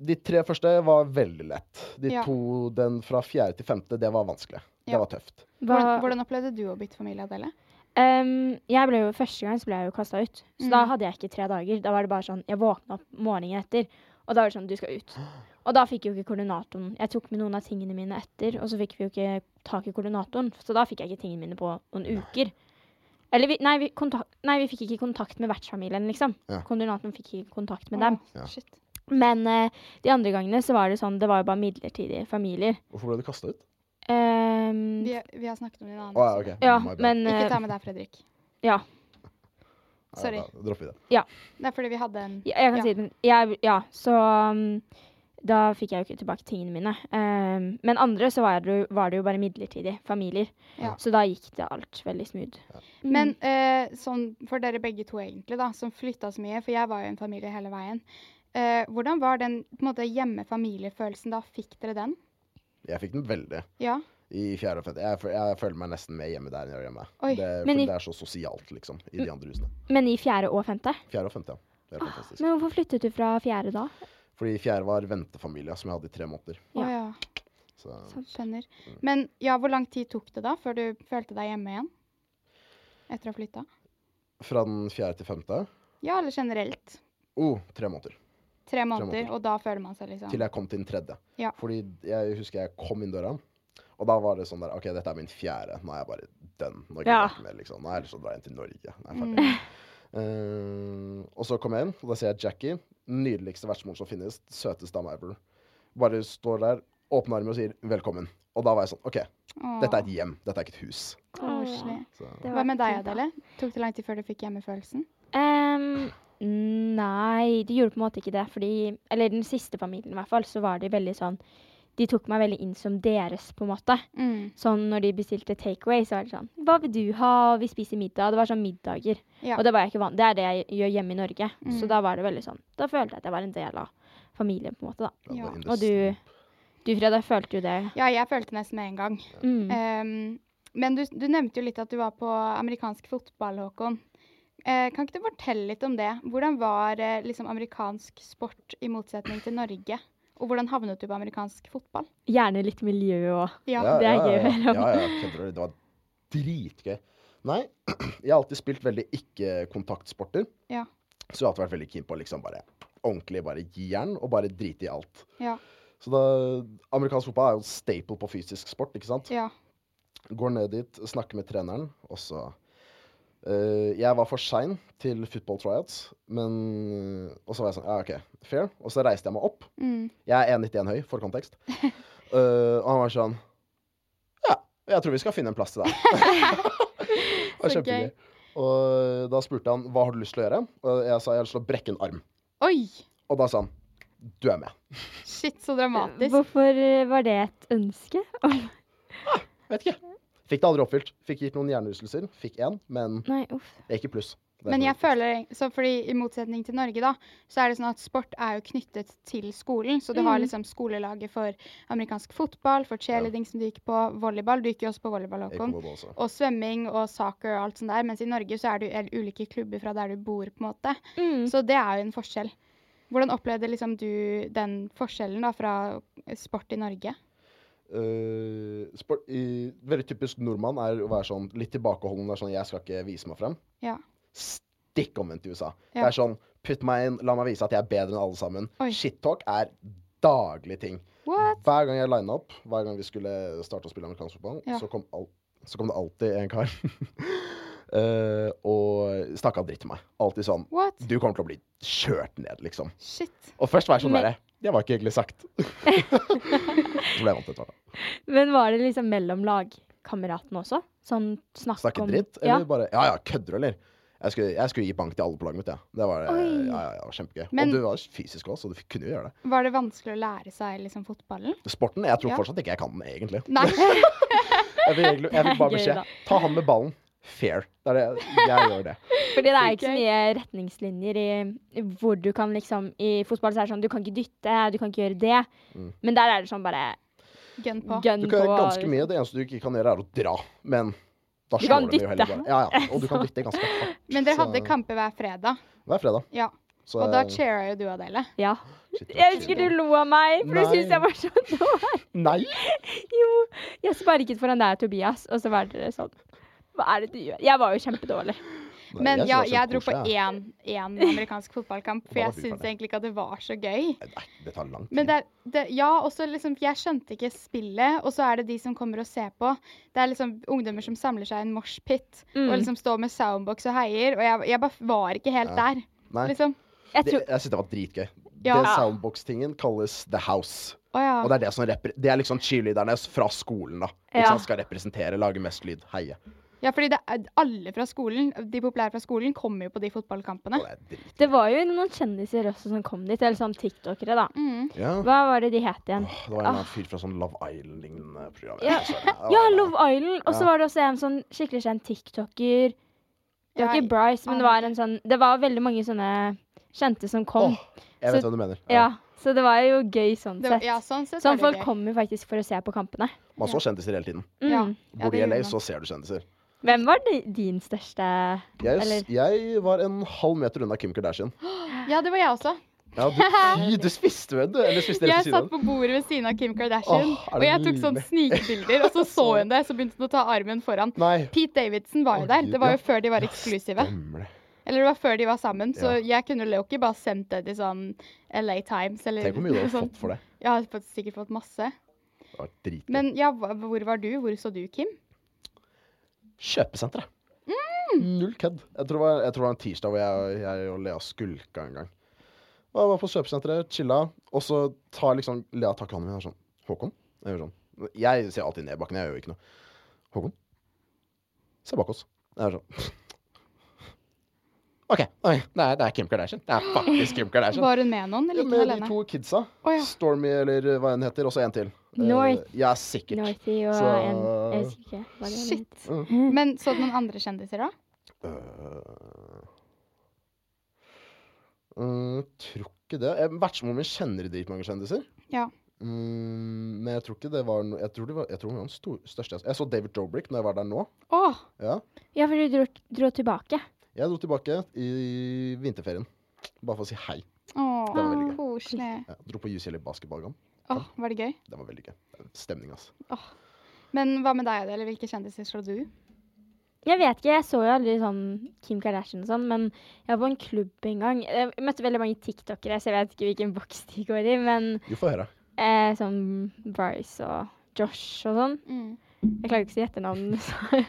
D: De tre første var veldig lett. De
B: Ja.
D: to, den fra fjerde til femte, det var vanskelig.
B: Ja.
D: Det var tøft.
B: Hvordan, hvordan opplevde du å bytte familie, Adele?
C: Ehm, jeg ble jo, første gang så ble jeg jo kasta ut. Så da
B: Mm.
C: hadde jeg ikke tre dager. Da var det bare sånn, Jeg våkna opp morgenen etter, og da var det sånn Du skal ut. Og da fikk jo ikke koordinatoren Jeg tok med noen av tingene mine etter, og så fikk vi jo ikke tak i koordinatoren. Så da fikk jeg ikke tingene mine på noen uker. Eller vi, nei, vi kontak, nei, vi fikk ikke kontakt med vertsfamilien, liksom.
D: Ja.
C: Koordinatoren fikk ikke kontakt
B: Åh,
C: med dem.
D: Ja.
B: Shit.
C: Men eh, de andre gangene så var det sånn Det var jo bare midlertidige familier.
D: Hvorfor ble du kasta ut?
C: Ehm,
B: Vi, vi har snakket om det i en annen
D: Å ja,
B: episode.
D: OK.
C: ja,
D: My bad.
C: men
B: Ikke
C: eh,
B: ta med deg, Fredrik.
C: Ja.
D: Ja,
B: Sorry.
D: Da dropper vi det.
B: Det er fordi vi hadde en
C: Ja, jeg kan
B: Ja.
C: si det. men Jeg, ja, så um, da fikk jeg jo ikke tilbake tingene mine. Um, men andre så var det, jo- var det jo bare midlertidig. Familier.
B: Ja.
C: Så da gikk det alt veldig smooth. Mm.
B: Men eh, sånn for dere begge to, egentlig, da, som flytta så mye, for jeg var jo en familie hele veien. Eh, hvordan var den på en måte, hjemme-familie-følelsen da? Fikk dere den?
D: Jeg fikk den veldig
B: Ja.
D: i fjerde og femte. Jeg, føl- jeg føler meg nesten mer hjemme der enn jeg gjør hjemme.
B: Oi,
D: Det,
C: men
D: fordi
C: i-
D: det er så sosialt, liksom, i de andre husene.
C: Men i fjerde og femte?
D: Fjerde og femte, ja. Det
B: Ah,
D: er fantastisk.
C: Men hvorfor flyttet du fra fjerde da?
D: Fordi fjerde var ventefamilia, som jeg hadde i tre måneder.
B: Å
C: Ja.
B: ja.
D: Så
B: Skjønner.
D: Mm.
B: Men ja, hvor lang tid tok det da før du følte deg hjemme igjen? Etter å ha flytta?
D: fra den fjerde til femte
B: Ja, eller generelt?
D: Oh, tre måneder.
B: Tre måneder,
D: måneder.
B: og da føler man seg liksom
D: Til jeg kom til den tredje.
B: Ja.
D: Fordi jeg husker jeg kom inn døra, og da var det sånn der OK, dette er min fjerde. Nå er jeg bare done. Nå gidder
C: Ja. Mm.
D: jeg ikke mer, liksom. Nå er jeg lyst til å dra hjem til Norge. Nå er jeg ferdig. Eh, og så kom jeg inn, og da ser jeg Jackie. den Nydeligste vertsmoren som finnes. Søteste dama ever. Bare står der, åpner armer og sier 'velkommen'. Og da var jeg sånn OK,
B: Åh,
D: dette er et hjem, dette er ikke et hus.
B: Koselig.
D: Så,
C: Det var
B: Hva med deg,
C: fint, da.
B: Adele? Tok det lang tid før du fikk hjemmefølelsen?
C: Um, nei, de gjorde på en måte ikke det. Fordi, eller den siste familien, i hvert fall, så var de veldig sånn De tok meg veldig inn som deres, på en måte.
B: Mm.
C: Sånn når de bestilte takeaway, så var det sånn Hva vil du ha? Og vi spiser middag. Det var sånn middager.
B: Ja.
C: Og det var jeg ikke vant Det er det jeg gjør hjemme i Norge.
B: Mm.
C: Så da var det veldig sånn Da følte jeg at jeg var en del av familien, på en måte, da.
D: ja, det
B: Ja.
D: er
B: Og
C: Og
D: industri.
C: du, du Freda, følte jo det.
B: Ja, jeg følte nesten med en gang.
C: Mm.
B: Ehm, men du, du nevnte jo litt at du var på amerikansk fotball, Håkon. Eh, kan ikke du fortelle litt om det? Hvordan var eh, liksom amerikansk sport i motsetning til Norge? Og hvordan havnet du på amerikansk fotball?
C: Gjerne litt miljø og
B: Ja.
C: det er gøy å
D: ja,
C: høre om.
D: Ja, ja, kødder du? Det var dritgøy. Nei, jeg har alltid spilt veldig ikke-kontaktsporter.
B: Ja.
D: Så jeg har alltid vært veldig keen på å liksom bare ordentlig bare gi jern og bare drite i alt.
B: Ja.
D: Så da, Amerikansk fotball er jo staple på fysisk sport, ikke sant?
B: ja.
D: Går ned dit, snakker med treneren, og så eh, Jeg var for sein til football tryouts, men Og så var jeg sånn, ja, OK, fair. Og så reiste jeg meg opp.
B: Mm.
D: Jeg er 1,91 høy, for kontekst. Eh, og han var sånn Ja, jeg tror vi skal finne en plass til deg. det var
B: Så
D: kjempegøy.
B: gøy.
D: Og eh, da spurte han hva har du lyst til å gjøre. Og jeg sa jeg har lyst til å brekke en arm.
B: Oi!
D: Og da sa han du er med.
B: Shit, så dramatisk.
C: Hvorfor eh, var det et ønske? Om-
D: Vet ikke. Fikk det aldri oppfylt. Fikk gitt noen hjernehustelser. Fikk én, men
C: Nei, uff.
D: det gikk i pluss. Det er
B: Men jeg
D: sånn-
B: føler, så fordi I motsetning til Norge da, så er det sånn at sport er jo knyttet til skolen. Så du har
C: Mm.
B: liksom skolelaget for amerikansk fotball, for cheerleading som du gikk på, volleyball. Du gikk jo også på volleyball,
D: Jeg gikk
B: Håkon.
D: på både også.
B: og svømming og soccer og alt sånt der. Mens i Norge så er det jo el- ulike klubber fra der du bor, på en måte.
C: Mm.
B: Så det er jo en forskjell. Hvordan opplevde liksom du den forskjellen da fra sport i Norge?
D: Eh, sport, i, veldig typisk nordmann er å være sånn litt tilbakeholden. Det er sånn, jeg skal ikke vise meg frem.
B: Ja.
D: Stikk omvendt i USA. Det
B: Ja.
D: er sånn, putt meg inn, la meg vise at jeg er bedre enn alle sammen.
B: Oi.
D: Shit-talk er daglig ting.
B: What?
D: Hver gang jeg lina opp, hver gang vi skulle starte å spille amerikansk fotball,
B: Ja.
D: så, kom al så kom det alltid en kar eh, og snakka dritt til meg. Alltid sånn
B: What?
C: Mm.
D: Du kommer til å bli kjørt ned, liksom.
B: Shit.
D: Og først var jeg sånn
C: Men-
D: derre Det var ikke hyggelig sagt. så ble jeg vant etter hvert.
C: Men var det liksom mellom lagkameratene også? Sånn snakk
D: Snakke
C: om
D: dritt? Eller
C: Ja.
D: bare Ja ja, kødder du, eller? Jeg skulle, jeg skulle gi bank til alle på laget mitt, jeg. Det var, ja,
C: Oi.
D: ja, ja, det var kjempegøy.
B: Men-
D: og du var fysisk også, så du kunne jo gjøre det.
B: Var det vanskelig å lære seg liksom fotballen?
D: Sporten Jeg tror
B: Ja.
D: fortsatt ikke jeg kan den, egentlig.
B: Nei.
D: Jeg vil, egentlig, jeg
C: Det
D: vil
C: er
D: bare
C: gøy,
D: beskjed
C: da.
D: Ta han med ballen. fair. Det er det, jeg gjør det.
C: Fordi det er ikke så mye retningslinjer i i hvor du kan liksom I fotball så er det sånn du kan ikke dytte, du kan ikke gjøre det.
D: Mm.
C: Men der er det sånn bare
B: Gun på.
C: gun
D: Du
C: på.
D: kan gjøre ganske mye. Det eneste du ikke kan gjøre, er å dra. Men da
C: Du kan
D: slår de jo heller
C: dytte.
D: bare. Ja, ja. Og du kan dytte ganske hardt.
B: Men dere hadde
D: så-
B: kamper hver fredag.
D: Hver fredag.
B: Ja.
D: Så,
B: Og da
D: eh,
B: cheera jo du, Adele.
C: Ja.
D: shit, det er
C: Jeg husker
D: chill.
C: du lo av meg, for du
D: Nei.
C: syntes jeg var så dårlig.
D: Nei!
C: Jo. Jeg sparket foran deg og Tobias, og så var dere sånn Hva er det du gjør? Jeg var jo kjempedårlig.
D: Nei,
B: Men
D: synes
B: ja,
D: det er
B: jeg dro på
D: kjempekoselig, jeg.
B: én, én amerikansk fotballkamp, for
D: Da var
B: jeg
D: du
B: syns
D: ferdig.
B: egentlig ikke at det var så gøy.
D: Nei, det tar lang tid.
B: Men det, er- det, ja, også liksom, jeg skjønte ikke spillet, og så er det de som kommer og ser på. Det er liksom ungdommer som samler seg i en moshpit
C: Mm.
B: og liksom står med soundbox og heier, og jeg, jeg bare var ikke helt
D: Ja.
B: der.
D: Nei,
B: Liksom.
C: Jeg
D: det,
C: tror
D: jeg syns det var dritgøy.
B: Ja.
D: Det soundbox-tingen kalles The House.
B: Å ja.
D: Og det er det som repre det er liksom cheerleaderne fra skolen, da. Ikke
C: Ja.
D: sant? Skal representere, lage mest lyd, heie.
B: ja, fordi det er alle fra skolen, de populære fra skolen, kommer jo på de fotballkampene.
D: Og det er drit.
C: Det var jo noen kjendiser også som kom dit, eller sånn tiktokere, da.
B: Mm.
D: Ja.
C: Hva var det de het igjen?
D: Åh, Det var en eller annen fyr fra sånn Love Island-lignende program.
C: Ja.
D: Jeg husker det. Det var-
C: Ja, Love Island! Og så
D: Ja.
C: var det også en sånn skikkelig kjent tiktoker. Det var
B: Ja,
C: ikke Bryce, men det var en sånn Det var veldig mange sånne kjente som kom.
D: Åh, jeg vet
C: Så-
D: hva du mener.
C: Ja, så det var jo gøy sånn
B: Det, var-
C: sett.
B: ja, sånn sett
C: Sånn
B: var
C: folk
B: det gøy.
C: kom jo faktisk for å se på kampene.
D: Man så kjendiser hele tiden.
C: Mm.
B: Ja. Ja,
D: Bor
B: det
D: i LA,
B: gjorde man.
D: så ser du kjendiser.
C: Hvem var di- din største
D: Jeg,
C: Eller-
D: jeg var en halv meter unna Kim Kardashian.
B: Ja, det var jeg også.
D: Ja, du, fy, du spiste, vet du. Eller spiste
B: Jeg
D: rett ved
B: satt
D: siden av.
B: på bordet ved siden av Kim Kardashian,
D: Åh, er
B: og
D: det
B: jeg tok sånn
D: mulig?
B: snikbilder, og så så hun det, så begynte hun å ta armen foran.
D: Nei.
B: Pete Davidson var jo
D: Å,
B: der.
D: Gud,
B: Det var
D: ja.
B: jo før de var eksklusive.
D: Stemmer det.
B: Eller det var før de var sammen, så jeg kunne jo ikke bare sendt det til sånn LA Times eller
D: Tenk hvor mye du hadde
B: sånn.
D: fått for det.
B: Jeg har fått, sikkert fått masse.
D: Det var dritgøy.
B: Men ja, hva- hvor var du? Hvor så du, Kim?
D: Kjøpesenteret. Null kødd. Jeg tror, det var, jeg tror det var en tirsdag hvor jeg, jeg og Lea skulka en gang. Og jeg var på kjøpesenteret, chilla, og så tar liksom Lea tak i hånden min og er sånn Håkon? Jeg gjør sånn. Jeg ser alltid ned i bakken, jeg gjør jo ikke noe. Håkon? Se bak oss. Jeg er sånn OK. Nei, det er, det er Kim Kardashian. Det er faktisk Kim Kardashian.
B: Var hun med noen, eller gikk hun
D: Med de
B: alene?
D: to kidsa.
B: Å, ja.
D: Stormy, eller hva hun heter, og så en til. Eh,
C: North.
D: Ja, sikkert.
C: Northy og
D: Så-
C: en Jeg husker ikke. hva det var hun het.
B: Men så du noen andre kjendiser da?
D: Øh. Mm, tror ikke det. Eh, Vertsmoren min kjenner dritmange kjendiser.
B: Ja.
D: Mm, men jeg tror ikke det var no Jeg tror det var, jeg tror hun var den stor, største jeg så. Jeg så David Dobrik når jeg var der nå.
B: Å,
D: Ja.
C: Ja, for du dro, dro tilbake.
D: Jeg dro tilbake i vinterferien. Bare for å si hei. Det
B: å
D: var veldig gøy.
B: koselig.
D: Jeg dro på UCL i basketballkamp.
B: Å, var det gøy?
D: Det var veldig gøy. Stemning, altså.
B: Men hva med deg, Adele? Hvilke kjendiser så du?
C: Jeg vet ikke, jeg så jo aldri sånn Kim Kardashian og sånn, men jeg var på en klubb en gang. Jeg møtte veldig mange tiktokere, så jeg vet ikke hvilken boks de går i, men
D: Du får høre.
C: eh, sånn Bryce og Josh og sånn.
B: Mm.
C: Jeg klarer ikke å si etternavn. så.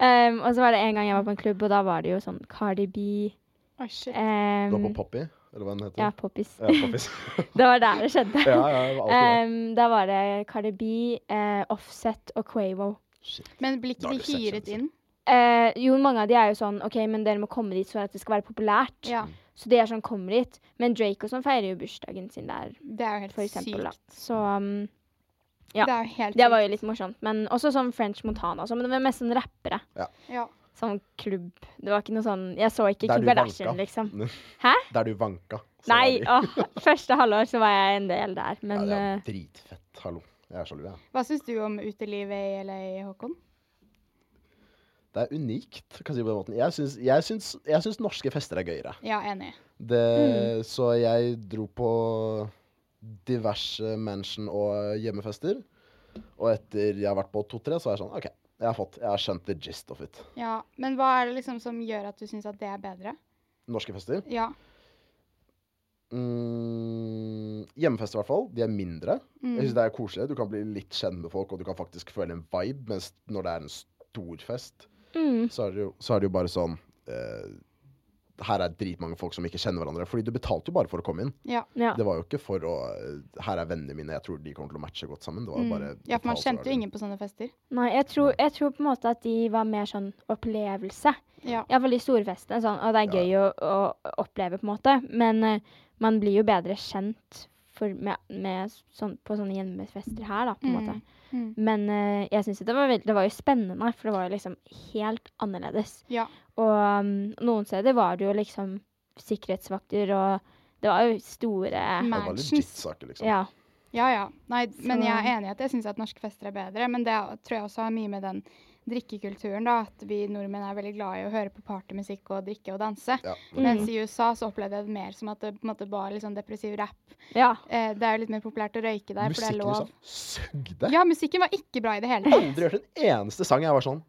C: um, og så var det en gang jeg var på en klubb, og da var det jo sånn Cardi B
B: Å, shit.
D: Du var på
C: um,
D: Poppy, eller hva den heter?
C: Ja, Poppis.
D: Ja, Poppys.
C: det var der det skjedde.
D: ja, ja, det var alltid det.
C: Um, da var det Cardi B, eh, Offset og Quavo.
D: Shit.
B: Men blir
D: Da
B: ikke
D: har
B: de
D: du sett
B: hyret
D: kjendiser.
B: inn?
C: Eh, jo, mange av de er jo sånn OK, men dere må komme dit for at det skal være populært.
B: Ja,
D: Mm.
C: Så de er sånn kommer dit. Men Drake og sånn feirer jo bursdagen sin der,
B: det er jo helt
C: for eksempel. Da.
B: sykt.
C: Så um, Ja.
B: Det er jo helt
C: det var
B: sykt.
C: jo litt morsomt. Men også sånn French Montana og sånn. Men det var mest sånn rappere.
B: Ja.
C: Sånn klubb. Det var ikke noe sånn Jeg så ikke
D: Der
C: Kim
D: du
C: Kardashian,
D: vanka.
C: liksom.
D: Der du vanka. så var
C: Nei,
D: de-
C: åh, første halvår så var jeg en del der, men
D: ja, det
C: eh,
D: er dritfett. Hallo. Jeg er sjalu, jeg.
B: Hva syns du om utelivet i LA, Håkon?
D: Det er unikt. Kan jeg, si på den måten. Jeg, syns, jeg, syns, jeg syns norske fester er gøyere.
B: Ja, enig.
D: Det,
C: Mm.
D: Så jeg dro på diverse mansion- og hjemmefester. Og etter jeg har vært på to-tre, så er jeg sånn OK, jeg har fått, jeg har skjønt the gist of it.
B: Ja, Men hva er det liksom som gjør at du syns at det er bedre?
D: Norske fester.
B: Ja.
D: Mm, hjemmefester, i hvert fall. De er mindre.
B: mm,
D: Jeg
C: Mm.
D: syns det er koselig. Du kan bli litt kjent med folk, og du kan faktisk føle en vibe. Mens når det er en stor fest,
C: mm,
D: så er det jo, så er det jo bare sånn eh, Her er dritmange folk som ikke kjenner hverandre. Fordi du betalte jo bare for å komme inn.
B: Ja.
C: ja.
D: Det var jo ikke for å eh, Her er vennene mine, jeg tror de kommer til å matche godt sammen. Det var
B: Mm.
D: jo bare
B: ja, for man
D: betalt
B: kjente jo
D: for det.
B: ingen på sånne fester.
C: Nei, jeg tror, jeg tror på en måte at de var mer sånn opplevelse.
B: Ja.
C: Iallfall de store festene. Sånn, og det er gøy å, å oppleve, på en måte. Men eh, man blir jo bedre kjent for, med, med sånn, på sånne hjemmefester her, da, på en
B: Mm.
C: måte.
B: Mm.
C: Men eh, jeg syns det var veld- det var jo spennende, for det var jo liksom helt annerledes.
B: Ja.
C: Og um, noen steder var det jo liksom sikkerhetsvakter, og det var jo store
D: Det var
B: Mansions.
D: legit saker, liksom.
C: Ja.
B: Ja, ja. Nei, men
C: Så-
B: jeg er enig i at jeg syns at norske fester er bedre. Men det er- tror jeg også har mye med den drikkekulturen, da. At vi nordmenn er veldig glad i å høre på partymusikk og drikke og danse.
D: Ja.
B: Mens i USA så opplevde jeg det mer som at det på en måte var litt sånn depressiv rap.
C: ja.
B: Eh, det er jo litt mer populært å røyke der, for det er
D: Musikken
B: lov.
D: liksom søgde.
B: Ja, musikken var ikke bra i det hele
D: Jeg har
B: tatt.
D: aldri hørt en eneste sang jeg var sånn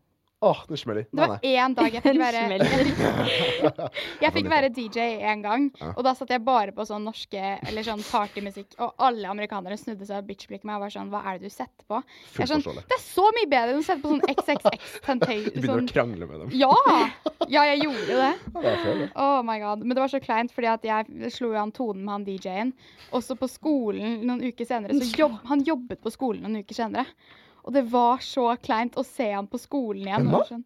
D: Åh, den smeller.
B: Det
D: Nei,
B: var
D: nei.
B: én dag jeg fikk være
C: Den
B: jeg fikk, jeg fikk være DJ én gang,
D: Ja.
B: og da satt jeg bare på sånn norske eller sånn partymusikk, og alle amerikanere snudde seg og bitchblikket meg og var sånn Hva er det du setter på? Jeg
D: Fullt
B: er sånn,
D: forståelig.
B: det er så mye bedre enn å sette på sånn XXX
D: Du begynner
B: Tentation.
D: å krangle med dem.
B: Ja! sånn- Ja, jeg gjorde jo det.
D: Ja, det er fair, det.
B: Oh my god. Men det var så kleint, fordi at jeg slo jo an tonen med han DJ-en. Og så på skolen noen uker senere så jobb, Han jobbet på skolen noen uker senere. Og det var så kleint å se han på skolen igjen.
D: Hvem
B: og
D: da?
B: var Sånn,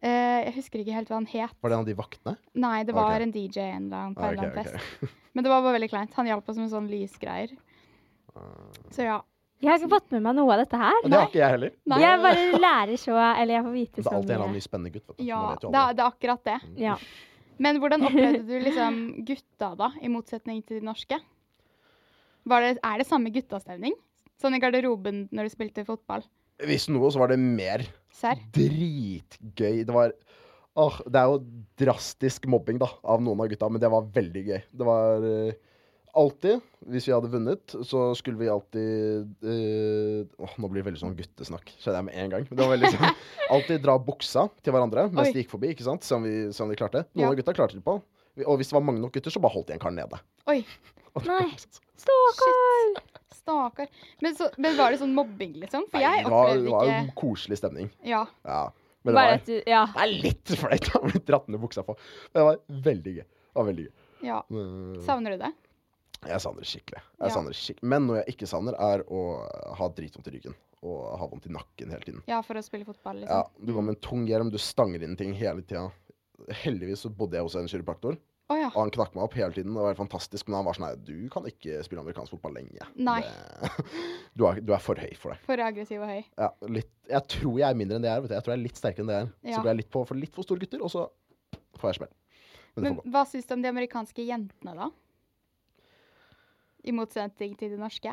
B: eh, jeg husker ikke helt hva han het.
D: Var det en av de vaktene?
B: Nei, det var
D: Ok.
B: en DJ en eller annen, på
D: Ah,
B: en
D: ok,
B: eller annen
D: ok.
B: fest. Men det var bare veldig kleint. Han hjalp oss med sånne lysgreier. Så ja.
C: Jeg har ikke fått med meg noe av dette her.
D: Ah. Og det har ikke jeg heller.
B: Nei.
C: Jeg bare lærer så Eller jeg får vite
D: Men det
C: så
D: er alltid en eller annen
C: mye.
D: ny spennende gutt. Vet du.
B: ja
D: Man vet
B: det,
D: jo
B: er,
D: aldri. Mm.
B: det er akkurat det.
C: Ja.
B: Men hvordan opplevde du liksom gutta, da, i motsetning til de norske? Var det, er det samme guttastemning? Sånn i garderoben når du spilte fotball?
D: Hvis noe, så var det mer
B: Serr?
D: dritgøy. Det var Åh, det er jo drastisk mobbing da, av noen av gutta, men det var veldig gøy. Det var eh, alltid Hvis vi hadde vunnet, så skulle vi alltid eh, Åh, Nå blir det veldig sånn guttesnakk, skjønner jeg med en gang. Men det var veldig sånn Alltid dra buksa til hverandre mens
B: Oi.
D: de gikk forbi, ikke sant? Se om vi, se om vi klarte. Noen
B: Ja.
D: av gutta klarte det på. Og hvis det var mange nok gutter, så bare holdt de en kar nede.
B: Oi,
D: Og det
C: Nei.
D: var sånn-
C: Stakkar!
B: stakkar. Men, så- men var det sånn mobbing, liksom? For
D: Nei,
B: jeg
D: det var,
B: opplevde
D: det var
B: ikke
D: jo koselig stemning.
B: Ja.
D: Ja. Men det
C: Bare
D: var,
C: at du Ja.
D: det er litt flaut å bli dratt ned buksa på. Men det var veldig gøy. Det var veldig gøy.
B: ja.
D: Men-
B: Savner du det?
D: Jeg savner det skikkelig.
B: Ja.
D: Jeg savner det skikkelig. Men noe jeg ikke savner, er å ha dritvondt i ryggen. Og ha vondt i nakken hele tiden.
B: Ja, for å spille fotball,
D: Ja,
B: liksom?
D: du går med en tung hjelm, du stanger inn ting hele tida. Heldigvis så bodde jeg hos en kiropraktor,
B: Å ja.
D: og han knakk meg opp hele tiden. Det var helt fantastisk, men han var sånn her Du kan ikke spille amerikansk fotball lenge.
B: Nei.
D: Det, du, er, du er for høy for det.
B: For aggressiv og høy.
D: Ja, litt, jeg tror jeg er mindre enn det jeg er. Vet du. Jeg tror jeg er litt sterkere enn det jeg er.
B: Ja.
D: Så går jeg litt på for litt for store gutter, og så får jeg smell. Men det
B: Men
D: får gå.
B: hva syns du om de amerikanske jentene, da? I motsetning til de norske?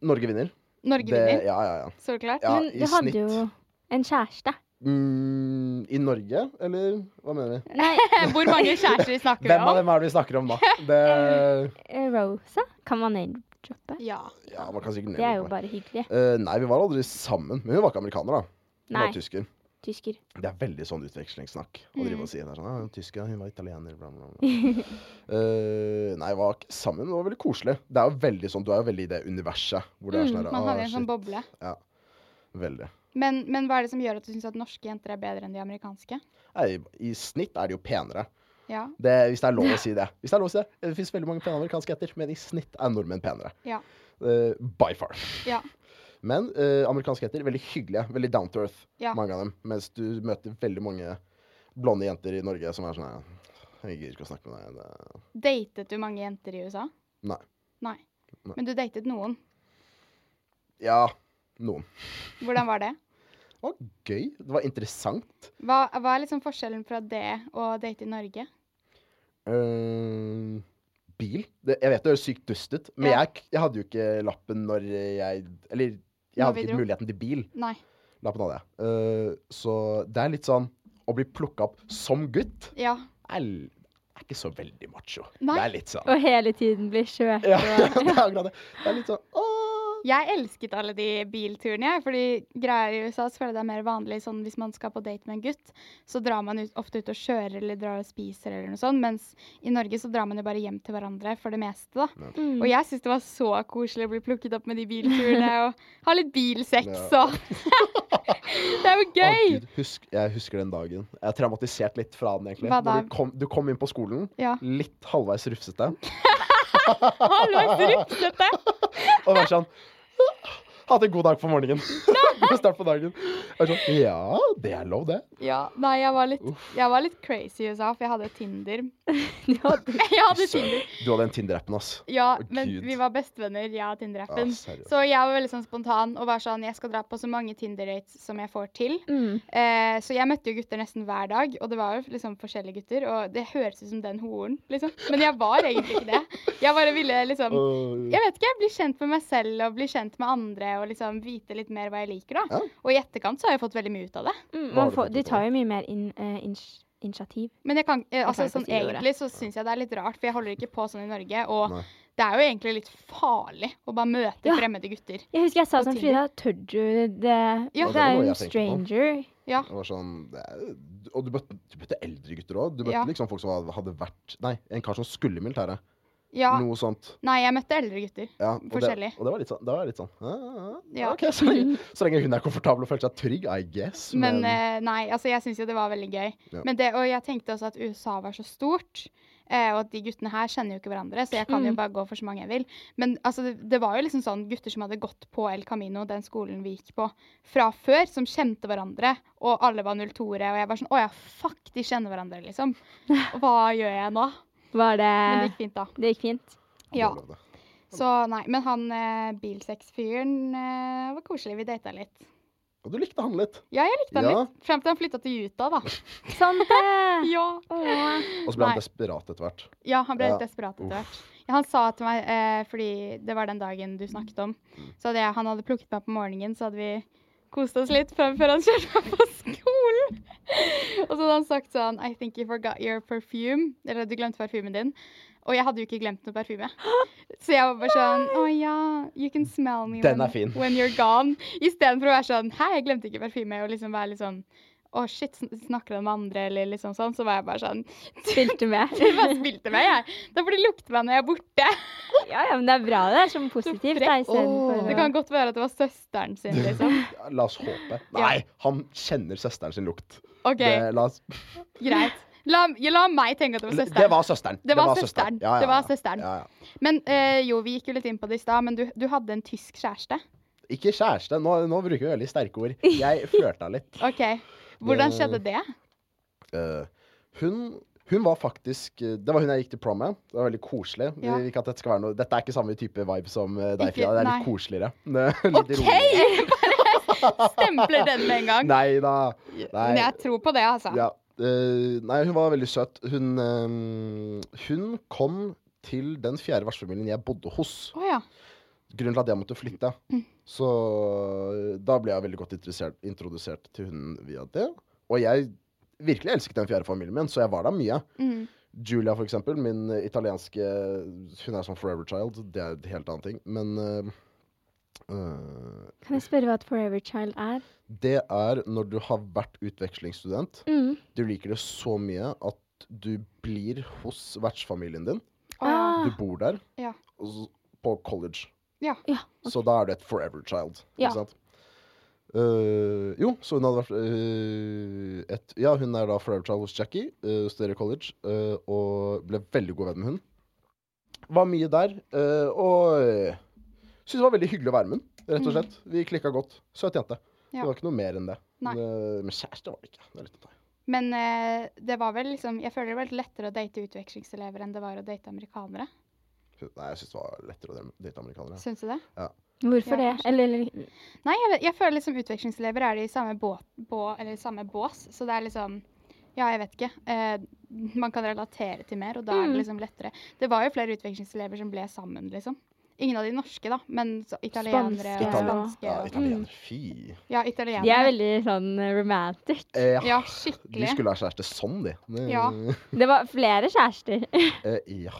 D: Norge vinner.
B: Norge
D: Det-
B: vinner,
D: Ja, ja, ja.
B: så klart.
D: Ja,
C: Men
D: i
C: du hadde
D: snitt.
C: jo en kjæreste.
D: Mm, I Norge, eller hva mener vi?
C: Nei,
B: eh, Hvor mange kjærester snakker vi
D: Hvem av
B: om?
D: dem er det vi snakker om, da? Det,
C: Eh, Rosa kan man name-droppe.
B: Ja.
D: ja, man kan sikkert
C: Det er jo
D: nevne det.
C: bare hyggelig.
D: Eh, nei, vi var aldri sammen. Men hun var ikke amerikaner, da. Hun
C: Nei.
D: var tysker.
C: Tysker.
D: Det er veldig sånn utvekslingssnakk å
B: Mm.
D: drive og si. Det er sånn, ah, tysker, hun var italiener, bla, bla, bla. Eh, nei, vi var ikke sammen. men Det var veldig koselig. Det er jo veldig sånn, Du er jo veldig i det universet hvor det er
B: Mm,
D: sånn her,
B: man
D: ah,
B: havner i en sånn
D: shit.
B: boble.
D: Ja, veldig.
B: Men, men hva er det som gjør at du syns at norske jenter er bedre enn de amerikanske?
D: Nei, I snitt er de jo penere.
B: Ja.
D: Det, hvis det er lov å si det. Hvis Det er lov å si det. Det fins veldig mange pene amerikanske jenter, men i snitt er nordmenn penere.
B: Ja.
D: Eh, by far.
B: Ja.
D: Men eh, amerikanske jenter veldig hyggelige, veldig down to earth,
B: Ja.
D: mange av dem. Mens du møter veldig mange blonde jenter i Norge som er sånn her, Jeg gidder ikke å snakke med deg. Det...
B: Datet du mange jenter i USA?
D: Nei.
B: Nei.
D: Nei.
B: Men du datet noen.
D: Ja, noen.
B: Hvordan var det?
D: Det var gøy. Det var interessant.
B: Hva, hva er liksom forskjellen fra det og date i Norge?
D: Eh, bil. Det, jeg vet det høres sykt dust ut, men
B: Ja.
D: jeg, jeg hadde jo ikke lappen når jeg Eller jeg
B: Når
D: hadde
B: vi
D: ikke
B: dro.
D: muligheten til bil.
B: Nei.
D: Lappen hadde jeg. Eh, så det er litt sånn Å bli plukka opp som gutt
B: Ja.
D: er, l- er ikke så veldig macho.
B: Nei.
D: Det er litt sånn
C: Og hele tiden blir kjørt
D: Ja, det
C: og
D: er akkurat det. Det er litt sånn åh.
B: Jeg elsket alle de bilturene, jeg. Fordi greier i USA så føler jeg det er mer vanlig sånn hvis man skal på date med en gutt, så drar man ut, ofte ut og kjører eller drar og spiser eller noe sånt. Mens i Norge så drar man jo bare hjem til hverandre for det meste, da.
D: Mm.
C: Mm.
B: Og jeg syns det var så koselig å bli plukket opp med de bilturene og ha litt bilsex
D: Ja.
B: og Det er jo
D: Å,
B: gøy!
D: Gud, husk, jeg husker den dagen. Jeg er traumatisert litt fra den, egentlig.
B: Hva da?
D: Når du, kom, du kom inn på skolen,
B: Ja.
D: litt halvveis rufsete,
B: Halvveis rufsete!
D: og var sånn Hatt en god dag på morgenen. God start på dagen. Jeg er sånn, ja, det er lov, det.
B: Ja. Nei, jeg var, litt, jeg var litt crazy i USA, for jeg hadde Tinder. jeg hadde Tinder.
D: Du hadde den Tinder-appen, ass.
B: Ja,
D: Å,
B: men
D: Gud.
B: vi var bestevenner, jeg og Tinder-appen.
D: Ah, seriøst.
B: så jeg var veldig sånn spontan og var sånn Jeg skal dra på så mange Tinder-dates som jeg får til.
C: Mm,
B: Eh, så jeg møtte jo gutter nesten hver dag, og det var jo liksom forskjellige gutter. Og det høres ut som den horen, liksom. Men jeg var egentlig ikke det. Jeg bare ville liksom
D: Åh.
B: jeg vet ikke, bli kjent med meg selv og bli kjent med andre og liksom vite litt mer hva jeg liker. da.
D: Ja.
B: Og i etterkant så har jeg fått veldig mye ut av det.
C: Mm,
D: har
C: man
D: du
C: får,
D: fått
C: de
D: ut av
C: tar jo mye mer in, eh, ins- initiativ.
B: Men jeg kan, eh, altså,
C: kan ikke
B: sånn,
C: si det ordet.
B: egentlig så syns jeg det er litt rart, for jeg holder ikke på sånn i Norge. Og
D: Nei.
B: det er jo egentlig litt farlig å bare møte
C: Ja.
B: fremmede gutter.
C: Jeg husker jeg sa
B: På
C: sånn,
B: Tinder.
C: Frida, tør du det?
B: Ja.
C: Det er
D: Det var
C: jo
D: noe
C: en
D: jeg tenkte på.
C: stranger.
B: Ja.
D: Det var sånn, det er- og du møtte, du møtte eldre gutter òg. Du møtte
B: Ja.
D: liksom folk som hadde- hadde vært Nei, en kar som skulle i militæret.
B: ja.
D: Noe sånt.
B: Nei, jeg møtte eldre gutter.
D: Ja, og
B: Forskjellig.
D: Det, og det var litt sånn. Det var litt sånn ah, ah,
B: Ja.
D: ok, så, lenge, så lenge hun er komfortabel og føler seg trygg, I guess.
B: Men eh, nei, altså jeg syns jo det var veldig gøy.
D: Ja.
B: Men det, og jeg tenkte også at USA var så stort. eh, og at de guttene her kjenner jo ikke hverandre, så jeg kan jo bare gå for så mange jeg vil. Men altså, det, det var jo liksom sånn gutter som hadde gått på El Camino, den skolen vi gikk på, fra før, som kjente hverandre. Og alle var 02-ere, og jeg var sånn Å ja, fuck, de kjenner hverandre, liksom. Hva gjør jeg nå?
C: Var det
B: Men det gikk fint, da.
C: Det gikk fint.
B: Ja.
D: Det var lov, det.
B: Så nei. Men han eh, bilsex-fyren eh, var koselig. Vi data litt.
D: Og du likte han litt.
B: Ja, jeg likte han
D: Ja.
B: litt. Frem til han flytta til Utah, da.
C: Sant Sånn, det!
B: Ja.
D: Og så ble
B: Nei.
D: han desperat etter hvert.
B: Ja, han ble
D: Ja.
B: helt desperat etter hvert. Ja, han sa til meg, eh, fordi det var den dagen du snakket om,
D: Mm.
B: så hadde jeg, han hadde plukket meg opp om morgenen, så hadde vi kost oss litt før, før han kjørte meg på skolen. og så hadde han sagt sånn, I think you forgot your perfume, eller du glemte parfymen din. Og jeg hadde jo ikke glemt noe parfyme. Så jeg var bare sånn, å ja, you can smell me
D: Den er
B: when,
D: fin.
B: when you're gone. I stedet for å være sånn, hei, jeg glemte ikke parfyme, og liksom være litt sånn, å shit, sn- snakker han med andre, eller liksom sånn, så var jeg bare sånn,
C: Spilte med.
B: jeg bare spilte med, jeg. Da får de lukte meg når jeg er borte.
C: Ja, ja, men det er bra det er sånn positivt. Da,
B: frekk.
C: istedenfor
B: Det
C: å-
B: kan godt være at det var søsteren sin, liksom.
D: Ja, La oss håpe. Nei, han kjenner søsteren sin lukt.
B: OK,
D: Det, la oss,
B: greit. La, ja, la meg tenke at det var søsteren.
D: det var søsteren.
B: Det var søsteren.
D: Ja, ja,
B: Det var
D: ja.
B: søsteren.
D: Ja, ja.
B: Men eh, jo, vi gikk jo litt inn på det i stad, men du, du hadde en tysk kjæreste.
D: Ikke kjæreste. Nå, nå bruker vi veldig sterke ord. Jeg flørta litt.
B: OK. Hvordan
D: Det-
B: skjedde det?
D: Eh, hun, hun var faktisk eh, Det var hun jeg gikk til prom med. Det var veldig koselig.
B: Ja.
D: Ikke at dette, skal være noe, dette er ikke samme type vibe som eh, deg,
B: Ikke-
D: Frida. Det er litt
B: nei.
D: koseligere.
B: OK!
D: Litt roligere.
B: Bare stempler den med en gang.
D: Nei da. Nei.
B: Men jeg tror på det, altså.
D: Ja. eh, nei, hun var veldig søt. Hun, eh, hun kom til den fjerde vertsfamilien jeg bodde hos.
B: Å ja.
D: Grunnen til at jeg måtte flytte. Så eh, da ble jeg veldig godt interessert- introdusert til hun via det. Og jeg virkelig elsket den fjerde familien min, så jeg var der mye.
B: Mm.
D: Julia, for eksempel, min eh, italienske Hun er sånn forever child. Det er en helt annen ting. Men eh, eh,
C: Kan jeg spørre hva et Forever Child er?
D: det er når du har vært utvekslingsstudent.
C: Mm.
D: Du liker det så mye at du blir hos vertsfamilien din.
B: Å, ja.
C: Ah.
D: Du bor der
B: Ja.
D: og s- på college.
B: Ja.
C: Ja,
D: Så da er du et forever child.
C: Ja.
D: Ikke sant? Eh, jo, så hun hadde vært eh, et, Ja, hun er da forever child hos Jackie, uh, studerer college, eh, og ble veldig god venn med hun. Var mye der, eh, og uh, syntes det var veldig hyggelig å være med hun, rett og slett. Vi klikka godt. Søt jente.
B: Mm. Ja.
D: Det var ikke noe mer enn det.
B: Nei.
D: Det- men kjæreste var det ikke. Det er litt å ta i.
B: Men eh, det var vel liksom Jeg føler det var litt lettere å date utvekslingselever enn det var å date amerikanere.
D: Nei, jeg syns det var lettere å date amerikanere.
B: Syns du det?
D: Ja.
C: Hvorfor
B: Ja,
C: det? Eller, eller
B: Nei, jeg, vet- jeg føler liksom utvekslingselever er de i samme, bå, bå, eller samme bås, så det er liksom Ja, jeg vet ikke. Eh, man kan relatere til mer, og da er
C: Mm.
B: det liksom lettere. Det var jo flere utvekslingselever som ble sammen, liksom. Ingen av de norske, da, men så, italienere og
C: Spanske.
B: spanske.
D: Ja,
B: og-
D: italiener. Fy.
B: Ja, italienere.
C: De er veldig sånn eh, romantic.
D: Eh, ja.
B: Ja,
D: De
B: skikkelig.
D: skulle ha kjæreste sånn, de. Det,
B: Ja.
C: Det var flere kjærester.
D: Eh, ja.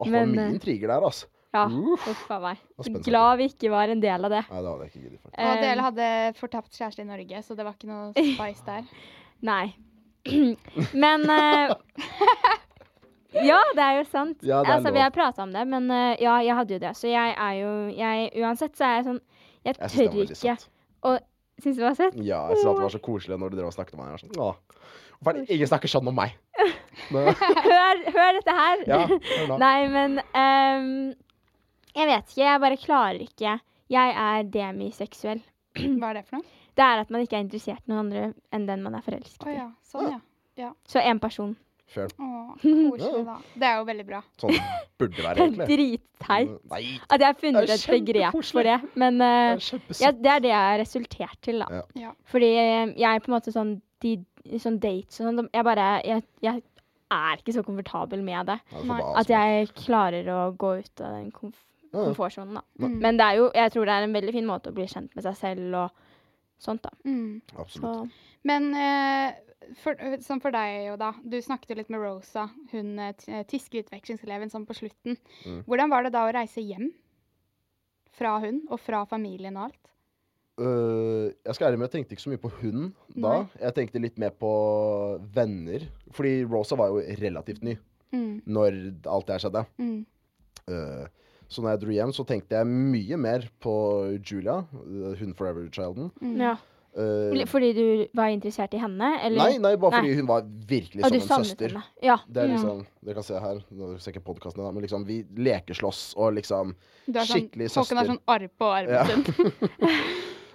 D: Åh, det var
C: Men,
D: mye
C: eh,
D: intriger der, altså.
C: Ja,
D: Uff.
C: uff a meg.
D: var spennende.
C: Glad vi ikke var en del av det.
D: Nei, det hadde jeg ikke giddet. faktisk.
B: Og
C: Eh,
B: dere hadde fortapt kjæreste i Norge, så det var ikke noe spice der.
C: Nei. Men eh, Ja, det er jo sant.
D: Ja, det er
C: altså,
D: lov.
C: vi har prata om det, men eh, ja, jeg hadde jo det. Så jeg er jo jeg, Uansett så er jeg sånn Jeg tør
D: Jeg synes det var veldig
C: ikke
D: søtt.
C: Syns du det var søtt?
D: Ja, jeg synes at det var så koselig når du drev og snakket om meg. Jeg var sånn, Åh, hvorfor er det ingen snakker sånn om meg? Men,
C: Hør, hør dette her.
D: ja, hør nå.
C: Nei, men ehm, Jeg vet ikke. Jeg bare klarer ikke. Jeg er demiseksuell.
B: Hva er det for noe?
C: Det er at man ikke er interessert i noen andre enn den man er forelsket
B: Å
C: i.
B: ja. Sånn, ja.
C: Så én person.
D: Fair.
B: Å, koselig, da. Det er jo veldig bra.
D: Sånn burde det være,
C: Det er
D: egentlig.
C: dritteit
D: Nei,
C: at jeg har funnet
D: Det er
C: et begrep for det, men
D: det
C: eh,
D: er kjempesøtt.
C: Ja, det er det jeg har resultert til, da.
D: Ja.
B: Ja.
C: Fordi eh, jeg er på en måte sånn de, Sånn dates og sånn Jeg bare jeg, jeg er ikke så komfortabel med det.
D: Ja, det får bare
C: At jeg klarer å gå ut av den komf
D: Ja, ja.
C: komfortsonen, da.
B: Mm,
D: Nei.
C: Men det er jo Jeg tror det er en veldig fin måte å bli kjent med seg selv og sånt, da.
B: Mm.
C: Så,
D: Absolutt.
B: Men eh, for, sånn for deg, jo da. Du snakket jo litt med Rosa, hun eh, t- eh, tyske utvekslingseleven, sånn på slutten.
D: Mm.
B: Hvordan var det da å reise hjem? Fra hun, og fra familien og alt?
D: Øh, jeg skal ærlig med, jeg tenkte ikke så mye på hun da.
B: Nei.
D: Jeg tenkte litt mer på venner. Fordi Rosa var jo relativt ny
B: Mm,
D: når alt det her skjedde.
B: mm,
D: Eh, Så når jeg dro hjem, så tenkte jeg mye mer på Julia, eh, hun Forever Childen.
B: mm.
C: ja.
D: Eh,
C: Fordi- Fordi du var interessert i henne, eller?
D: nei, nei, bare
C: Nei.
D: fordi hun var virkelig
C: og
D: som
C: du
D: en
C: savnet
D: søster.
C: henne. Ja.
D: Det er
B: Ja.
D: liksom, Dere kan se her, nå ser jeg ikke podkastene, men liksom, vi lekeslåss og liksom
B: Du er sånn,
D: Skikkelig
B: Håkon har
D: søster.
B: sånn arr på armen
D: Ja.
B: sin.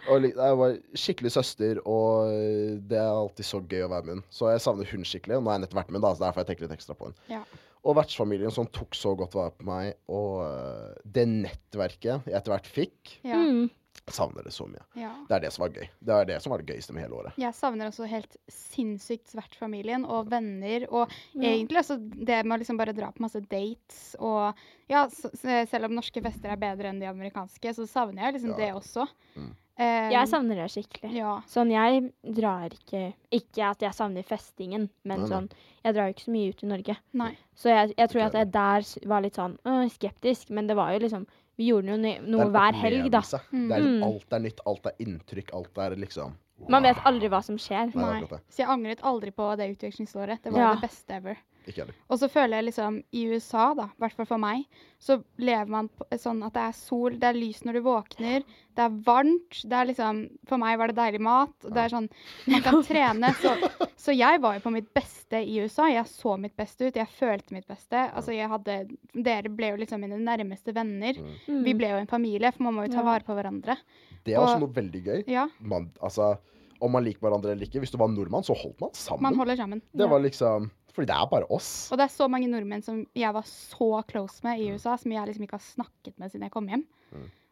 D: og li, Jeg var skikkelig søster, og eh, det er alltid så gøy å være med hun. Så jeg savner hun skikkelig. Nå har jeg nettopp vært med, da, så derfor jeg tenker litt ekstra på hun.
B: Ja.
D: Og vertsfamilien som tok så godt vare på meg, og eh, det nettverket jeg etter hvert fikk,
B: Ja,
C: Mm.
D: jeg savner det så mye.
B: ja.
D: Det er det som var gøy. Det er det som var det gøyeste med hele året.
B: Jeg savner også helt sinnssykt vertsfamilien og venner. Og
C: Ja.
B: egentlig også det med å liksom bare dra på masse dates. Og ja, s- s- selv om norske fester er bedre enn de amerikanske, så savner jeg liksom
D: Ja.
B: det også.
D: Mm.
B: Eh,
C: Jeg savner det skikkelig.
B: Ja.
C: Sånn, jeg drar ikke Ikke at jeg savner festingen, men
D: Nei, nei.
C: sånn Jeg drar jo ikke så mye ut i Norge.
B: Nei.
C: Så jeg, jeg tror
D: Ikke
C: at jeg der s- var litt sånn øh, skeptisk, men det var jo liksom Vi gjorde jo nø-
D: Det er
C: noe
D: en
C: hver helg, da.
D: opplevelse.
B: Mm.
D: Det er,
C: Mm.
D: alt er nytt, alt er inntrykk, alt er liksom
C: Man vet aldri hva som skjer.
D: Nei, det er
B: Nei.
D: akkurat det.
B: Så jeg angret aldri på det utvekslingsåret. Det var
C: Ja.
B: det beste ever.
D: Ikke heller.
B: Og så føler jeg liksom i USA, da, i hvert fall for meg, så lever man på- sånn at det er sol, det er lys når du våkner, det er varmt, det er liksom For meg var det deilig mat. og Det er sånn Man kan trene. Så, så jeg var jo på mitt beste i USA. Jeg så mitt beste ut. Jeg følte mitt beste. Altså, jeg hadde Dere ble jo liksom mine nærmeste venner.
D: Mm.
B: Vi
C: Mm.
B: ble jo en familie, for man må jo ta
C: Ja.
B: vare på hverandre.
D: Det er
B: Og-
D: også noe veldig gøy.
B: Ja.
D: Man, altså, om man liker hverandre eller ikke, hvis du var nordmann, så holdt man sammen.
B: Man holder sammen.
D: det var liksom Fordi det er bare oss.
B: Og det er så mange nordmenn som jeg var så close med
D: Mm.
B: i USA, som jeg liksom ikke har snakket med siden jeg kom hjem.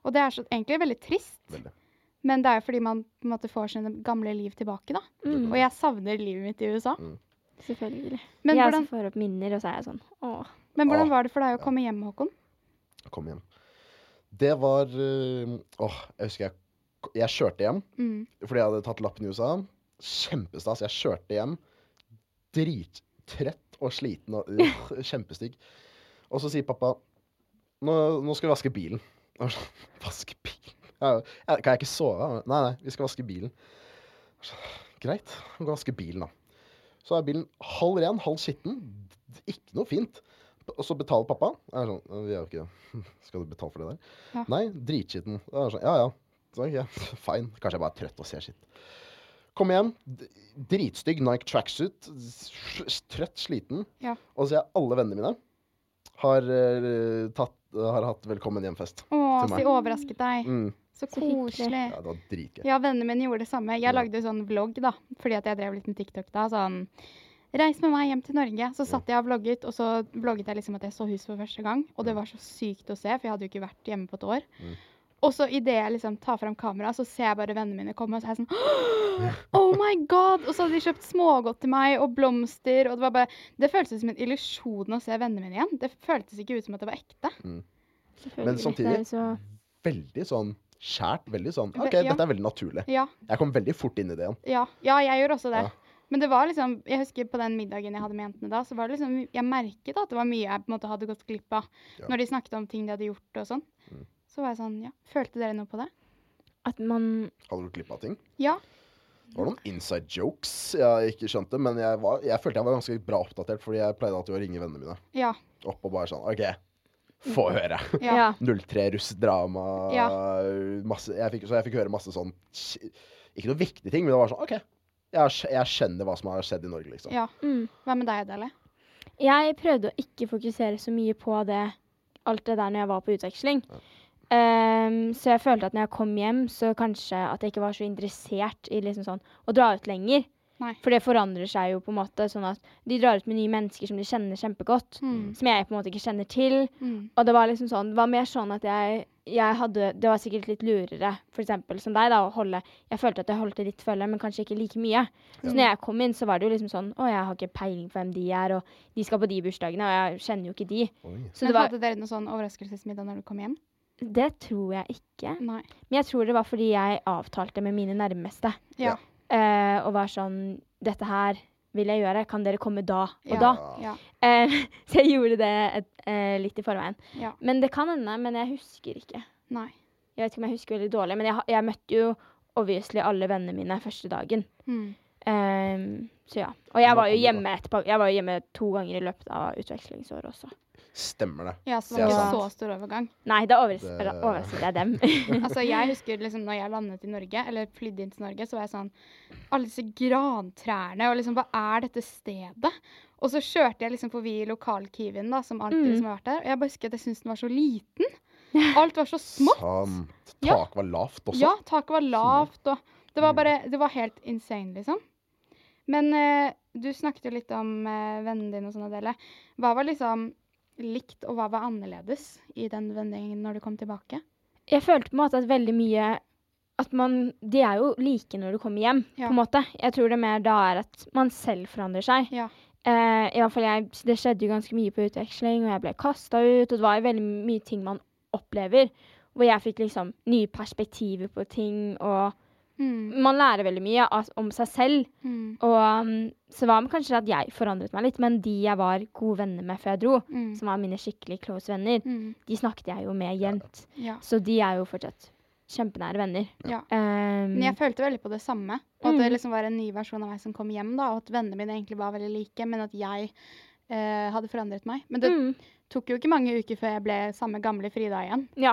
B: Og det er så, egentlig veldig trist.
D: Veldig.
B: Men det er jo fordi man på en måte får sine gamle liv tilbake, da.
C: Mm.
B: Og jeg savner livet mitt i USA.
D: Mm.
C: Selvfølgelig.
B: Men
C: jeg
B: hvordan,
C: også får opp minner, og så er jeg sånn åh.
B: men
D: Åh,
B: hvordan var det for deg å komme hjem, Håkon?
D: Kom hjem. Det var øh, Åh, jeg husker jeg Jeg kjørte hjem
B: Mm.
D: fordi jeg hadde tatt lappen i USA. Kjempestas. Jeg kjørte hjem drittrett og sliten og øh, kjempestygg. Og så sier pappa nå, nå skal vi vaske bilen. Jeg var sånn, Vaske bilen? Ja, ja, kan jeg ikke sove? Nei, nei, vi skal vaske bilen. Jeg var sånn, Greit, vi kan vaske bilen, da. Så er bilen halv ren, halv skitten. Ikke noe fint. Og så betaler pappa. Jeg er sånn, vi er jo ikke Skal du betale for det der?
B: Ja.
D: Nei, dritskitten. Jeg er sånn, ja ja. Så, ok, Fine. Kanskje jeg bare er trøtt og ser skitt. Kom igjen. D- Dritstygg Nike tracksuit. s- Trøtt, sliten.
B: Ja.
D: Og så ser jeg alle vennene mine har, eh, tatt, har hatt velkommen hjem-fest.
B: Å,
D: Til
B: så
D: meg.
B: jeg overrasket deg.
D: Mm.
B: Så
C: hyggelig.
B: koselig.
D: Ja, det var dritgøy.
B: Ja, vennene mine gjorde det samme. Jeg lagde jo sånn vlogg, da, fordi at jeg drev litt med TikTok da. Sånn Reis med meg hjem til Norge. Så satt jeg og vlogget, og så vlogget jeg liksom at jeg så huset for første gang. Og det var så sykt å se, for jeg hadde jo ikke vært hjemme på et år. Og så idet jeg liksom tar fram kameraet, så ser jeg bare vennene mine komme. Og så er jeg sånn Oh my god! Og så hadde de kjøpt smågodt til meg, og blomster. Og det var bare Det føltes som en illusjon å se vennene mine igjen. Det føltes ikke ut som at det var ekte.
C: Selvfølgelig.
D: Men samtidig-
C: Det er jo så-
D: Veldig sånn skjært. Veldig sånn OK,
B: Ja.
D: dette er veldig naturlig.
B: Ja.
D: Jeg kom veldig fort inn i det igjen.
B: Ja, ja jeg gjorde også det.
D: Ja.
B: Men det var liksom, jeg husker på den middagen jeg hadde med jentene da, så var det liksom, jeg merket at det var mye jeg på en måte hadde gått glipp av.
D: Ja. Mm.
B: Når de snakket om ting de hadde gjort og sånn. Så var jeg sånn, ja, følte dere noe på det?
C: At man
D: Hadde du glipp av ting?
B: Ja,
D: Det var noen inside jokes jeg ikke skjønte, men jeg, var, jeg følte jeg var ganske bra oppdatert, fordi jeg pleide alltid å ringe vennene mine
B: ja,
D: opp og bare sånn OK, få høre.
B: ja.
C: Ja.
D: 03 russ-drama.
B: Mm. Ja.
D: masse- jeg fikk- Så jeg fikk høre masse sånn Ikke noe viktige ting, men det var sånn OK, jeg, skj- jeg skjønner hva som har skjedd i Norge, liksom.
B: ja.
C: Mm.
B: Hva med deg, Dale?
C: Jeg prøvde å ikke fokusere så mye på det, alt det der når jeg var på utveksling. Ehm, så jeg følte at når jeg kom hjem, så kanskje at jeg ikke var så interessert i liksom sånn, å dra ut lenger.
B: Nei.
C: For det forandrer seg jo på en måte sånn at de drar ut med nye mennesker som de kjenner kjempegodt.
B: Mm.
C: Som jeg på en måte ikke kjenner til.
B: Mm.
C: Og det var liksom sånn, det var mer sånn at jeg, jeg hadde Det var sikkert litt lurere, for eksempel, som deg, da, å holde Jeg følte at jeg holdt det litt følge, men kanskje ikke like mye. Så når jeg kom inn, så var det jo liksom sånn Å, jeg har ikke peiling på hvem de er, og de skal på de bursdagene, og jeg kjenner jo ikke de.
D: Oi.
C: Så
B: Men
C: det var
B: Hadde dere noe sånn overraskelsesmiddag når du kom hjem?
C: Det tror jeg ikke.
B: Nei.
C: Men jeg tror det var fordi jeg avtalte med mine nærmeste.
B: Ja.
C: eh, og var sånn Dette her vil jeg gjøre. Kan dere komme da og
B: Ja.
C: da?
B: Ja.
C: Eh, så jeg gjorde det et, eh, litt i forveien.
B: Ja.
C: Men det kan hende, men jeg husker ikke.
B: Nei.
C: Jeg vet ikke om jeg husker veldig dårlig, men jeg, ha- jeg møtte jo obviously alle vennene mine første dagen.
B: Mm.
C: Ehm, så ja. Og jeg var jo
D: kom du da?
C: hjemme etterpå. Jeg var jo hjemme to ganger i løpet av utvekslingsåret også.
D: Stemmer det.
B: Ja, så det var
D: Ja.
B: ikke så stor overgang.
C: Nei, da overs
D: Det-
C: da overrasket jeg dem.
B: Altså, jeg husker liksom når jeg landet i Norge, eller flydde inn til Norge, så var jeg sånn Alle disse grantrærne, og liksom, hva er dette stedet? Og så kjørte jeg liksom forbi lokalkiwien, da, som alltid
C: Mm.
B: liksom har vært der. Og jeg bare husker at jeg syntes den var så liten. Alt var så smått.
D: Sant.
B: Ja.
D: Taket var lavt også.
B: Ja, taket var lavt, og Det var bare Det var helt insane, liksom. Men eh, du snakket jo litt om eh, vennene dine og sånn, Adele. Hva var liksom likt, og hha var annerledes i den vennegjengen når du kom tilbake?
C: jeg følte på en måte at veldig mye at man, De er jo like når du kommer hjem,
B: Ja.
C: på en måte. Jeg tror det mer da er at man selv forandrer seg.
B: Ja.
C: Eh, i hvert fall jeg, Det skjedde jo ganske mye på utveksling, og jeg ble kasta ut. Og det var jo veldig mye ting man opplever. Hvor jeg fikk liksom nye perspektiver på ting, og
B: Mm.
C: man lærer veldig mye av, om seg selv.
B: Mm.
C: Og um, så var det kanskje at jeg forandret meg litt, men de jeg var gode venner med før jeg dro,
B: Mm.
C: som var mine skikkelig close venner,
B: Mm.
C: de snakket jeg jo med jevnt.
B: Ja.
C: Så de er jo fortsatt kjempenære venner.
B: Ja.
C: Ehm,
B: Men jeg følte veldig på det samme. Og at det
C: Mm.
B: liksom var en ny versjon av meg som kom hjem. da, Og at vennene mine egentlig var veldig like, men at jeg eh, hadde forandret meg. Men det
C: mm,
B: tok jo ikke mange uker før jeg ble samme gamle Frida igjen.
C: ja.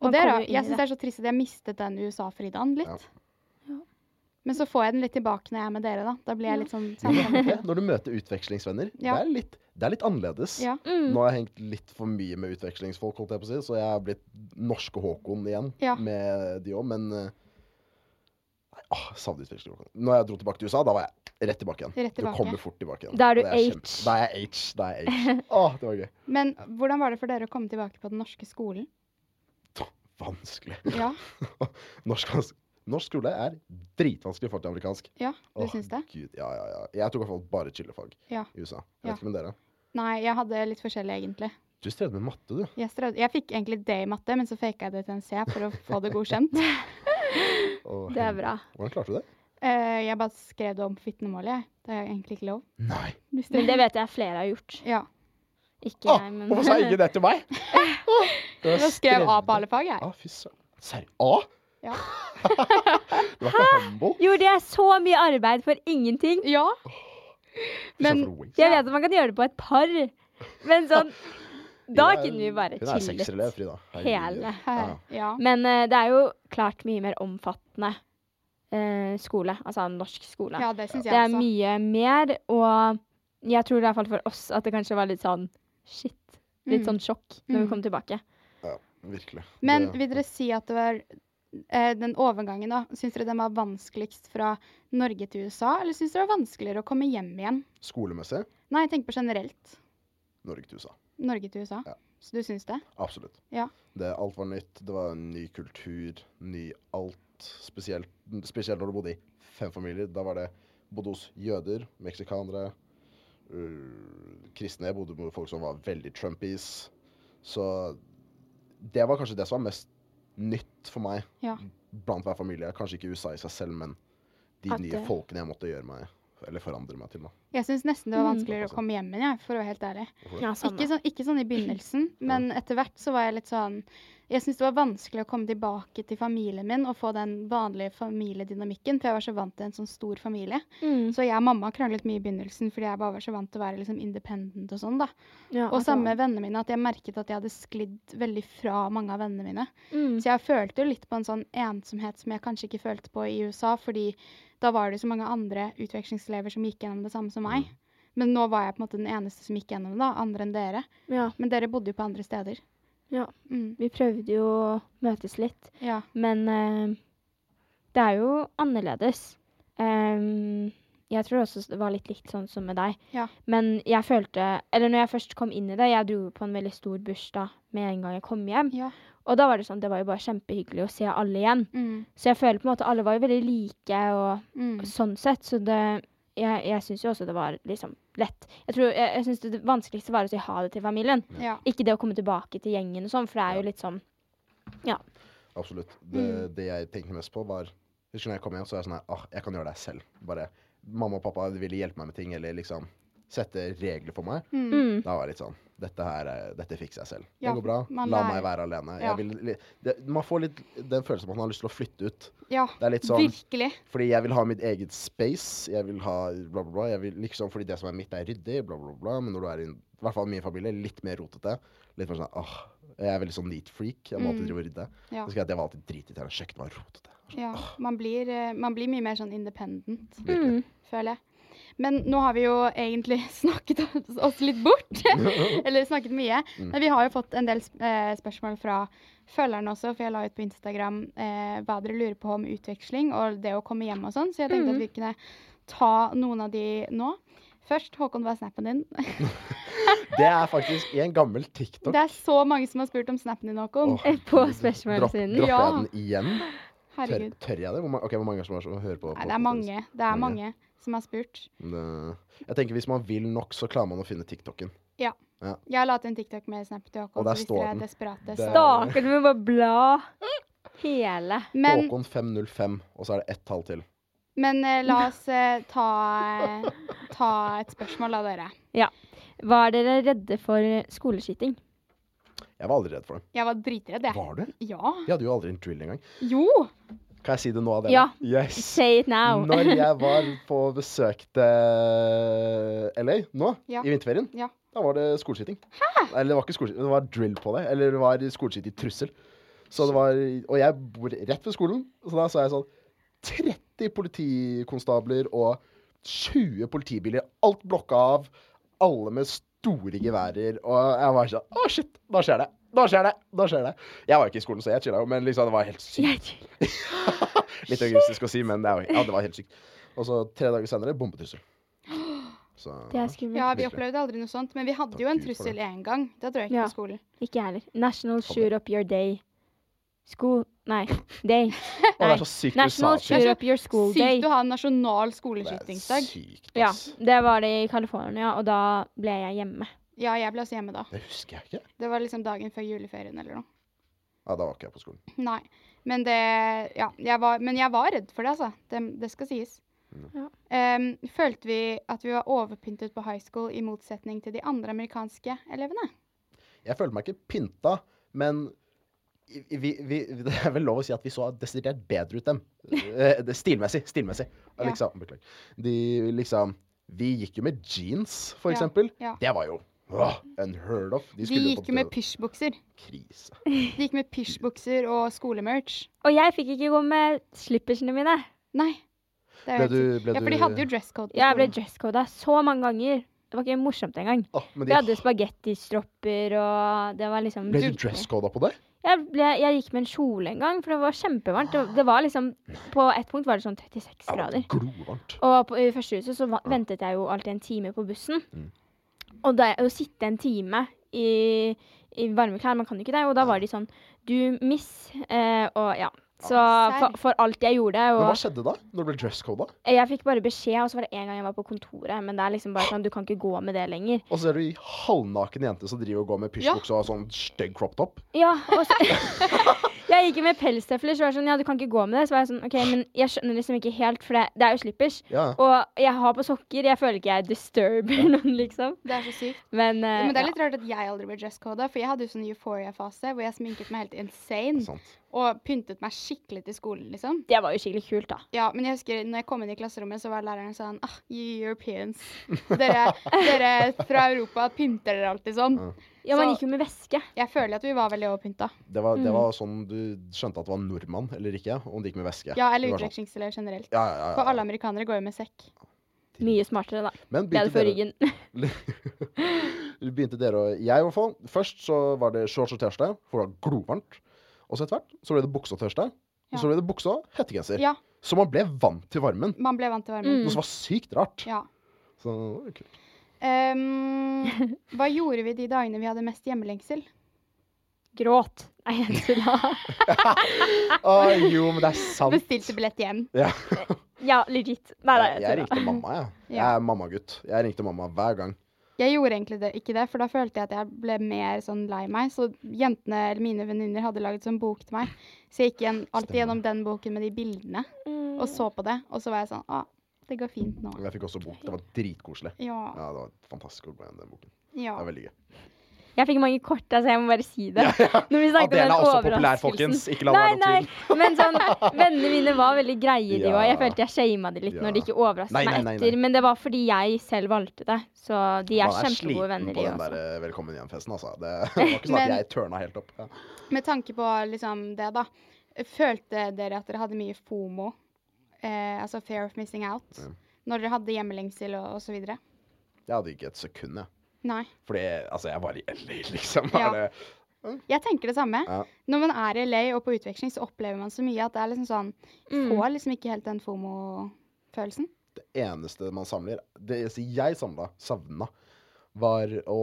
B: Og
C: Man
B: det er,
C: kommer
B: da-
C: jo inn i
B: jeg syns det er så trist at jeg mistet den USA-Fridaen litt. Men så får jeg den litt tilbake når jeg er med dere, da. Da blir jeg litt sånn sammenhengt.
D: Ja, Når du møter utvekslingsvenner,
B: Ja.
D: det, er litt, det er litt annerledes.
B: Ja.
C: Mm.
D: Nå har jeg hengt litt for mye med utvekslingsfolk, holdt jeg på å si, så jeg er blitt norske Håkon igjen
B: Ja.
D: med de òg, men eh, nei, Åh, jeg savner utveksling. Håkon. Når jeg dro tilbake til USA, da var jeg rett tilbake igjen.
B: Rett tilbake.
D: Du kommer fort tilbake igjen.
C: Da er du
D: Og det
C: H.
D: kjempe- Da er jeg H. Da er jeg H. Åh, det var gøy.
B: Men hvordan var det for dere å komme tilbake på den norske skolen?
D: Vanskelig.
B: Ja,
D: Norsk, norsk skole er dritvanskelig i forhold til amerikansk.
B: ja du
D: Åh,
B: syns det?
D: Gud, ja, ja, ja. Jeg tok i hvert fall bare chillefag
B: Ja.
D: i USA. Jeg
B: Ja.
D: vet ikke med dere.
B: Nei, jeg hadde litt forskjellig, egentlig.
D: Du strevde med matte, du.
B: Jeg, strød, jeg fikk egentlig det i matte, men så faka jeg det til en C for å få det godkjent.
D: Åh,
C: Det er
D: helvete.
C: bra.
D: Hvordan klarte du det?
B: Eh, jeg bare skrev det om på vitnemålet, jeg. Det er egentlig ikke lov.
D: Nei.
B: Hvis
C: Men det vet jeg flere har gjort.
B: Ja.
C: Ikke
D: Åh,
C: jeg, men
D: Ah, hvorfor sa ingen det til meg? Åh, det var
B: Jeg skrev A
D: strevende.
B: på alle fag, jeg.
D: Ah, fy søren. Serr? A?
B: Ja.
D: Ah? du var ikke humble?
C: Gjorde jeg så mye arbeid for ingenting?
B: Ja. Men
D: Hun
C: Jeg vet at man kan gjøre det på et par, men sånn Da
D: er-
C: kunne vi bare
D: Hun er
C: chille
D: sexelev,
C: litt.
D: Frida.
C: Hele.
B: her, ja.
C: Men eh, det er jo klart mye mer omfattende eh, skole, altså norsk skole.
B: ja, det syns jeg
C: det er
B: også.
C: mye mer, og jeg tror i hvert fall for oss at det kanskje var litt sånn shit. Litt
B: Mm.
C: sånn sjokk når
B: Mm.
C: vi kom tilbake.
D: Virkelig.
B: Men
D: Det-
B: vil dere si at det var eh, den overgangen, da? Syns dere den var vanskeligst fra Norge til USA, eller syns dere det var vanskeligere å komme hjem igjen?
D: Skolemessig
B: Nei, jeg tenker på generelt.
D: Norge til USA.
B: Norge til USA.
D: Ja.
B: Så du syns det?
D: Absolutt.
B: Ja.
D: Det, alt var nytt. Det var en ny kultur, ny alt. Spesielt, spesielt når du bodde i fem familier. Da var det bodde hos jøder, meksikanere, øh, kristne. Bodde med folk som var veldig Trumpies. Så det var kanskje det som var mest nytt for meg
B: Ja.
D: blant hver familie. Kanskje ikke USA i seg selv, men de
C: At
D: nye
C: det-
D: folkene jeg måtte gjøre meg, eller forandre meg til. da.
B: Jeg syns nesten det var
C: Mm.
D: Altså.
B: vanskeligere å komme hjem igjen, jeg, for å være helt ærlig.
C: Ja,
B: Ikke sånn, ikke sånn i begynnelsen, men etter hvert så var jeg litt sånn Jeg syntes det var vanskelig å komme tilbake til familien min og få den vanlige familiedynamikken, for jeg var så vant til en sånn stor familie.
C: Mm.
B: Så jeg og mamma kranglet mye i begynnelsen fordi jeg bare var så vant til å være liksom independent og sånn, da.
C: Ja, altså.
B: Og
C: at
B: sammen med
C: det
B: vennene mine at jeg merket at jeg hadde sklidd veldig fra mange av vennene mine.
C: var- Mm.
B: Så jeg følte jo litt på en sånn ensomhet som jeg kanskje ikke følte på i USA, fordi da var det så mange andre utvekslingselever som gikk gjennom det samme som
C: Mm.
B: meg. Men nå var jeg på en måte den eneste som gikk gjennom det, da, andre enn dere.
C: Ja,
B: Men dere bodde jo på andre steder.
C: Ja.
B: Mm.
C: vi prøvde jo å møtes litt,
B: Ja.
C: men eh, det er jo annerledes. Ehm, jeg tror også det var litt likt sånn som med deg.
B: Ja.
C: Men jeg følte Eller når jeg først kom inn i det, jeg dro jo på en veldig stor bursdag med en gang jeg kom hjem.
B: Ja.
C: Og da var det sånn, det var jo bare kjempehyggelig å se alle igjen.
B: Mm.
C: Så jeg føler på en måte alle var jo veldig like og
B: Mm.
C: sånn sett. Så det Jeg, jeg syns jo også det var liksom lett. Jeg tror, jeg, jeg synes det vanskeligste var å si ha det til familien.
B: Ja.
C: Ikke det å komme tilbake til gjengen og sånn, for det er jo litt sånn
D: Absolutt. Det,
B: Mm.
D: det jeg tenkte mest på, var Husker du når jeg kom hjem, så var jeg sånn her ah, Jeg kan gjøre det her selv. Bare Mamma og pappa de ville hjelpe meg med ting, eller liksom sette regler for meg.
C: mm,
D: Da var jeg litt sånn Dette her er- dette fikser jeg selv.
B: Ja,
D: det går bra. La
B: man
D: meg være alene.
B: Ja.
D: Jeg vil, li- det, man får litt den følelsen av at man har lyst til å flytte ut.
B: ja.
D: Det er litt sånn
B: Virkelig.
D: Fordi jeg vil ha mitt eget space. Jeg vil ha bla, bla, bla. Jeg vil liksom, fordi det som er mitt, er ryddig, bla, bla, bla. Men når du er i en- i hvert fall min familie, litt mer rotete. Litt mer sånn åh, Jeg er veldig sånn neat freak. Jeg må alltid drive og
B: Mm.
D: rydde.
B: Ja.
D: Så skal jeg, at jeg var alltid dritirriterende. Kjøkkenet var rotete.
B: Ja. Man blir, eh, man blir mye mer sånn independent.
D: Virkelig.
B: føler jeg. Men nå har vi jo egentlig snakket oss litt bort. Eller snakket mye. Men vi har jo fått en del sp- eh, spørsmål fra følgerne også, for jeg la ut på Instagram eh, hva dere lurer på om utveksling og det å komme hjem og sånn, så jeg tenkte at vi kunne ta noen av de nå. Først, Håkon, hva er snappen din?
D: Det er faktisk i en gammel TikTok.
B: Det er så mange som har spurt om snappen din, Håkon.
D: Åh,
C: På
D: dropp,
C: spørsmålssiden.
D: dropper
B: Ja.
D: jeg den igjen? Tør,
B: Herregud.
D: tør jeg det? Hvor, ma- ok, hvor mange som, er som hører på?
B: Nei, det er mange. Det er
D: Mange.
B: mange som har spurt.
D: Det, eh, jeg tenker Hvis man vil nok, så klarer man å finne TikToken.
B: Ja.
D: Ja.
B: Jeg har laget en TikTok med snap til Håkon,
D: Og der
B: så hvis
D: står
B: dere
D: den.
B: er desperate,
D: Der.
B: så
C: Stakkar, du må bare bla hele.
B: Men
D: Håkon 505, og så er det ett tall til.
B: Men eh, la oss eh, ta, eh, ta et spørsmål av dere.
C: Var dere redde for skoleskyting?
D: Jeg var aldri redd for det.
B: Jeg var dritredd, jeg.
D: Var du?
B: Ja.
D: Vi hadde jo aldri en drill engang.
B: Jo!
D: Kan jeg si det nå av dere?
C: Ja.
D: Yes.
C: Say it now.
D: Når jeg var på besøk til LA nå,
B: Ja.
D: i vinterferien,
B: Ja.
D: da var det skoleskyting. Eller det var ikke skoleskyting, det var drill på det. Eller det var skoleskyting-trussel. Så det var, og jeg bor rett ved skolen, så da sa jeg sånn 30 politikonstabler og 20 politibiler, alt blokka av, alle med store geværer, og jeg var sånn Å, shit! Da skjer det! Da skjer det! Da skjer det! Jeg var jo ikke i skolen, så jeg chilla jo, men liksom, det var helt sykt.
C: Jeg-
D: Litt egoistisk å si, men det, er jo, ja, det var helt sykt. Og så tre dager senere bombetrussel. Så
C: Det er skummelt.
B: Ja, vi
D: Virkelig.
B: opplevde aldri noe sånt. Men vi hadde jo en
D: Takk Gud for
B: trussel én gang. Da tror jeg ikke
C: Ja.
B: på skolen.
C: Ikke jeg heller. National Shoot Up Your Day. School Nei, day.
D: Å, det er så sykt
C: National
D: USA-ting.
C: Shoot Up Your School Day.
B: Sykt å ha en nasjonal
D: Det er
B: skoleskytingsdag.
D: Sykt,
C: Ja,
D: ass.
C: det var det i California, og da ble jeg hjemme.
B: Ja, jeg ble også hjemme da.
D: Det husker jeg ikke.
B: Det var liksom dagen før juleferien eller noe.
D: Ja, da var ikke jeg på skolen.
B: Nei. Men det Ja, jeg var, men jeg var redd for det, altså. Det, det skal sies.
D: Mm.
C: Ja.
B: Em, følte vi at vi var overpyntet på high school i motsetning til de andre amerikanske elevene?
D: Jeg følte meg ikke pynta, men i- vi, vi, det er vel lov å si at vi så desidert bedre ut dem. Eh, det- Stilmessig. Stilmessig. Ja,
B: Ja.
D: Liksom, beklager. De liksom Vi gikk jo med jeans, for
B: Ja,
D: eksempel.
B: ja.
D: Det var jo åh, unheard of. De,
B: De
D: skulle jo
B: gikk
D: på
B: jo med
D: død-
B: pysjbukser.
D: Krise.
B: De gikk med pysjbukser og skolemerch.
C: Og jeg fikk ikke gå med slippersene mine.
B: Nei. Det er
D: Ble
B: jo helt
D: du-
B: sykt.
D: ble
B: ja, for de
D: du-
B: hadde jo dresscode. på
C: Jeg ble
B: skolen.
C: dresscoda så mange ganger. Det var ikke morsomt engang.
D: Åh, men
C: Vi
D: de
C: hadde spagettistropper, og det var liksom
D: Ble du dresscoda på det?
C: Jeg, ble, jeg gikk med en kjole en gang, for det var kjempevarmt. Det, det var liksom, På et punkt var det sånn 36
D: Ja, det
C: grader.
D: var Glovarmt.
C: Og på,
D: Mm.
C: i førstehuset så va ventet jeg jo alltid en time på bussen. Og da å sitte en time i, i varme klær. Man kan jo ikke det. Og da var de sånn Du, miss. Eh, og ja. Så
B: serr.
C: for, for alt jeg gjorde
D: Men
C: og
D: hva skjedde da? Når det ble dresscoda?
C: Jeg fikk bare beskjed, og så var det en gang jeg var på kontoret. Men det er liksom bare sånn Du kan ikke gå med det lenger.
D: Og så er du ei halvnaken jente som driver og går med pysjbukse og sånn stygg crop top.
C: Ja, og så Jeg gikk jo med pelstøfler, så var det sånn Ja, du kan ikke gå med det. Så var jeg sånn OK, men jeg skjønner liksom ikke helt, for det, det er jo slippers.
D: Ja.
C: Og jeg har på sokker. Jeg føler ikke jeg disturber noen, liksom.
B: Det er så sykt.
C: Men, eh,
B: Men det er
C: ja.
B: litt rart at jeg aldri ble dresscoda, for jeg hadde jo sånn euphoria-fase hvor jeg sminket meg helt insane
D: Sant.
B: og pyntet meg skikkelig til skolen, liksom.
C: Det var jo skikkelig kult, da.
B: Ja, men jeg husker når jeg kom inn i klasserommet, så var læreren sånn ah, You Europeans. Dere, dere fra Europa pynter dere alltid sånn.
C: Ja, man
B: Så-
C: gikk jo med veske.
B: Jeg føler at vi var veldig overpynta.
D: Det var, det var sånn du skjønte at det var nordmann eller ikke, om det gikk med veske.
B: Ja, eller
D: Det var sånn.
B: utvekslingselever generelt.
D: Ja, ja,
B: For
D: ja,
B: alle
D: ja.
B: amerikanere går jo med sekk.
C: Mye smartere, da.
D: Men
C: Det er
D: begynte
C: det for
D: dere-
C: ryggen.
D: begynte dere å Jeg, i hvert fall. Først så var det shorts og T-skjorte, for det var glovarmt. Og så etter hvert så ble det bukse og T-skjorte. Og
B: Ja.
D: så ble det bukse og hettegenser.
B: Ja,
D: Så man ble vant til varmen.
B: man ble vant til varmen.
D: Noe som var sykt rart.
B: Ja.
D: Så det var jo kult.
B: Ehm, hva gjorde vi de dagene vi hadde mest hjemmelengsel?
C: Gråt. Nei, jeg tulla.
D: Ah, jo, men det er sant.
B: Bestilte billett hjem.
D: Ja.
C: Ja, legit. Nei, nei,
D: Jeg,
C: jeg
D: ringte
C: tulla.
D: mamma, jeg. Jeg
B: Ja.
D: er mammagutt. Jeg ringte mamma hver gang.
B: Jeg gjorde egentlig det, ikke det, for da følte jeg at jeg ble mer sånn lei meg. Så jentene, eller mine venninner hadde laget sånn bok til meg. Så jeg gikk igjen, alltid gjennom den boken med de bildene
C: Mm.
B: og så på det. Og så var jeg sånn ah, det går fint nå.
D: Men Jeg fikk også bok. Det var dritkoselig.
B: Ja.
D: Ja, det var fantastisk å gå gjennom den boken.
B: ja.
D: Det var veldig gøy.
C: Jeg fikk mange kort, altså. Jeg må bare si det. Når vi snakket om den
D: Adele er også populær,
C: overraskelsen.
D: folkens. Ikke la det
C: nei,
D: være
C: nei.
D: noen
C: Men sånn, vennene mine var veldig greie, de
D: Ja.
C: òg. Jeg følte jeg shama de litt
D: Ja.
C: når de ikke overrasket
D: Nei, nei,
C: meg
D: nei,
C: etter.
D: nei.
C: Men det var fordi jeg selv valgte det. Så de er
D: Man er
C: kjempegode
D: sliten
C: venner,
D: på
C: de
D: den
C: også.
D: der eh, Velkommen hjem-festen, altså. Det var ikke sånn at
B: Men-
D: jeg tørna helt opp. Ja.
B: Med tanke på liksom det, da. Følte dere at dere hadde mye fomo? Eh, altså fear of missing out? Når dere hadde hjemmelengsel og, og så videre?
D: Jeg hadde ikke et sekund, jeg.
B: Nei.
D: Fordi altså, jeg var i LA, liksom.
B: Ja.
D: Er det-
B: Jeg tenker det samme.
D: Ja.
B: Når man er i LA og på utveksling, så opplever man så mye at det er liksom sånn
C: Mm.
B: Får liksom ikke helt den fomo-følelsen.
D: det eneste man samler Det eneste jeg samla, savna, var å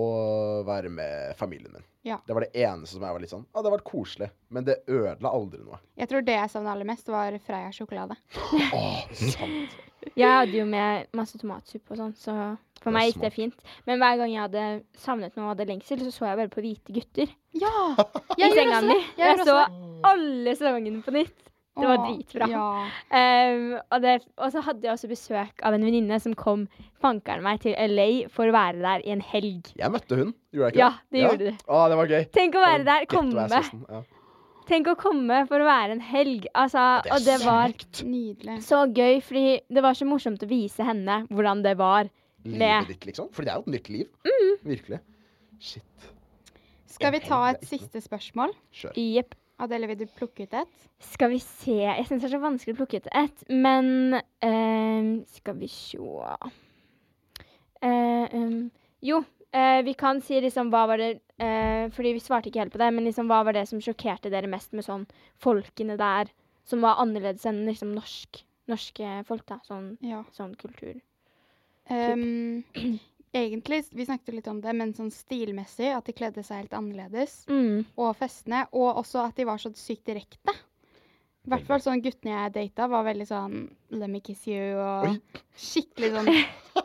D: være med familien min.
B: Ja.
D: Det var det eneste som jeg var litt sånn Ja, det har vært koselig, men det ødela aldri noe.
B: Jeg tror det jeg savna aller mest, var Freia sjokolade.
D: Åh, sant.
C: Jeg hadde jo med masse tomatsuppe og sånn, så for
D: er
C: meg gikk det
D: smart.
C: fint. Men hver gang jeg hadde savnet noe og hadde lengsel, så så jeg bare på hvite gutter
B: Ja!
C: i
B: Jeg
C: senga mi.
B: Jeg
C: Jeg
B: gjorde
C: så alle sesongene på nytt. Det var dritbra.
B: Ja.
C: Um, og, det, og så hadde jeg også besøk av en venninne som kom fankeren meg til LA for å være der i en helg.
D: Jeg møtte hun, gjorde jeg ikke
C: Ja, det gjorde du.
D: Å, det var gøy.
C: Tenk å
D: Det var
C: være der,
D: ghetto
C: komme.
D: ass-festen, Ja.
C: Tenk å komme for å være en helg. Altså,
D: det er
C: og det var
B: Nydelig.
C: så gøy, fordi det var så morsomt å vise henne hvordan det var.
D: Livet ditt, liksom. Fordi det er jo et nytt liv.
C: Mm.
D: Virkelig. Shit.
B: Skal vi ta et siste spørsmål?
D: Kjør.
C: Jepp.
B: Adele, vil du plukke ut et?
C: Skal vi se Jeg syns det er så vanskelig å plukke ut ett, men ehm, Skal vi sjå Eh, ehm, Jo, eh, vi kan si liksom hva var det eh, Fordi vi svarte ikke helt på det, men liksom hva var det som sjokkerte dere mest med sånn folkene der, som var annerledes enn liksom norsk, norske folk, da? Sånn,
B: Ja.
C: sånn kultur.
B: Ehm, egentlig, vi snakket jo litt om det, men sånn stilmessig, at de kledde seg helt annerledes.
C: Mm.
B: Og festene, og også at de var så sykt direkte. I hvert fall sånn guttene jeg data, var veldig sånn Let me kiss you og
D: Oi.
B: skikkelig sånn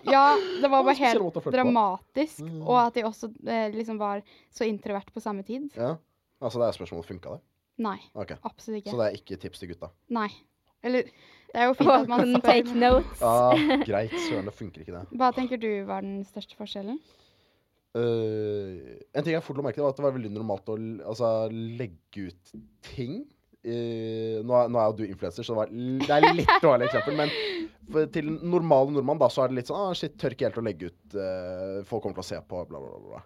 B: Ja, det var bare
D: spesiell
B: helt
D: måte å flørte på.
B: dramatisk.
D: Mm.
B: Og at de også eh, liksom var så introvert på samme tid.
D: Ja. Altså, det er spørsmålet funka, det.
B: Nei,
D: Ok.
B: absolutt
D: Så
B: ikke.
D: det er ikke tips til gutta.
B: Nei. Eller det er jo fint at man
C: Welcome,
B: spør.
C: take notes.
D: Ah, greit, søren, det funker ikke, det.
B: Hva tenker du var den største forskjellen?
D: Eh, en ting jeg fort la merke til, var at det var veldig normalt å l- altså, legge ut ting. Eh, nå, er, nå er jo du influenser, så det, var, l- det er litt dårlig eksempel. Men for, til den normale nordmann da, så er det litt sånn ah, shit, tør ikke helt å legge ut. eh, folk kommer til å se på, bla, bla, bla. bla.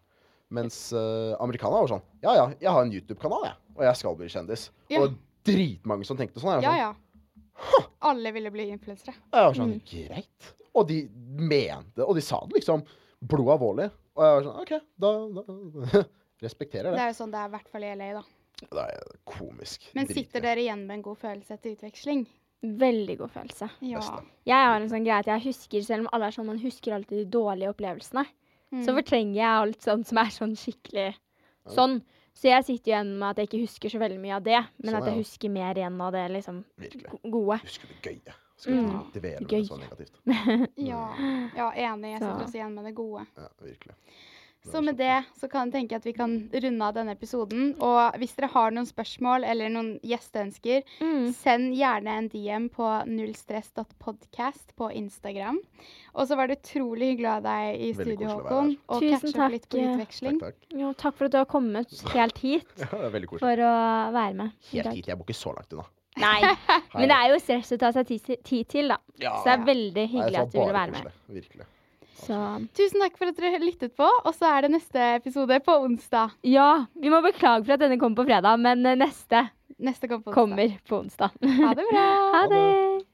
D: Mens uh, amerikanere var sånn Ja, ja, jeg har en YouTube-kanal, jeg. Og jeg skal bli kjendis.
B: Ja.
D: Og dritmange som tenkte sånn. Jeg var
B: Ja
D: sånn,
B: ja. Alle ville bli influensere.
D: jeg var
C: Mm.
D: sånn Greit. Og de mente Og de sa det liksom blod alvorlig. Og jeg var sånn OK, da, da respekterer
B: Det
D: jeg det.
B: er jo sånn det er i hvert fall i LA, da.
D: Det er komisk.
B: Men
D: Dritgøy.
B: sitter dere igjen med en god følelse etter utveksling?
C: Veldig god følelse.
B: Ja.
D: Beste.
C: Jeg har en sånn greie at jeg husker, selv om alle er sånn, man husker alltid de dårlige opplevelsene.
B: Mm.
C: så fortrenger jeg alt sånn som er sånn skikkelig sånn. Så jeg sitter igjen med at jeg ikke husker så veldig mye av det, men
D: Sånn,
C: at jeg
D: ja.
C: husker mer igjen av det liksom
D: Virkelig.
C: go- gode.
D: Husker det gøye.
C: Mm.
D: Skal ikke motivere med det så
C: Gøye.
D: negativt.
B: Ja, ja enig. Jeg sitter
C: Så.
B: også igjen med det gode.
D: Ja, virkelig.
B: Så med det så kan jeg tenke at vi kan runde av denne episoden. Og hvis dere har noen spørsmål eller noen gjesteønsker,
C: Mm.
B: send gjerne en DM på nullstress.podcast på Instagram. Og så var det utrolig hyggelig å ha deg i
D: Veldig
B: studio,
D: koselig å være
B: Håkon. Og
C: Tusen
B: catche
C: takk, eh,
B: opp litt på
C: ja.
B: utveksling.
D: Takk, takk.
C: Jo, takk for at du har kommet helt hit
D: Sånn. Ja, det er veldig koselig.
C: for å være med i
D: Helt
C: dag.
D: hit. Jeg bor ikke så langt unna.
C: Nei, men det er jo stress å ta seg tid til- tid til, da. Så det er veldig
D: Nei,
C: hyggelig
D: så
C: at du ville
D: bare
C: være med.
D: koselig. Virkelig.
C: Så
B: Tusen takk for at dere lyttet på, og så er det neste episode på onsdag.
C: ja, vi må beklage for at denne kom på fredag, men eh, neste
B: Neste kom på onsdag.
C: kommer på onsdag.
B: Ha det bra.
C: Ha det!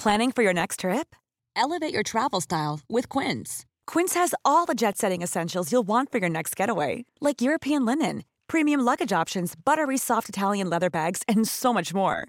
E: Planning for your next trip? Elevate your travel style with Quince. Quince has all the jet setting essentials you'll want for your next getaway, like European linen, premium luggage options, buttery soft Italian leather bags, and so much more.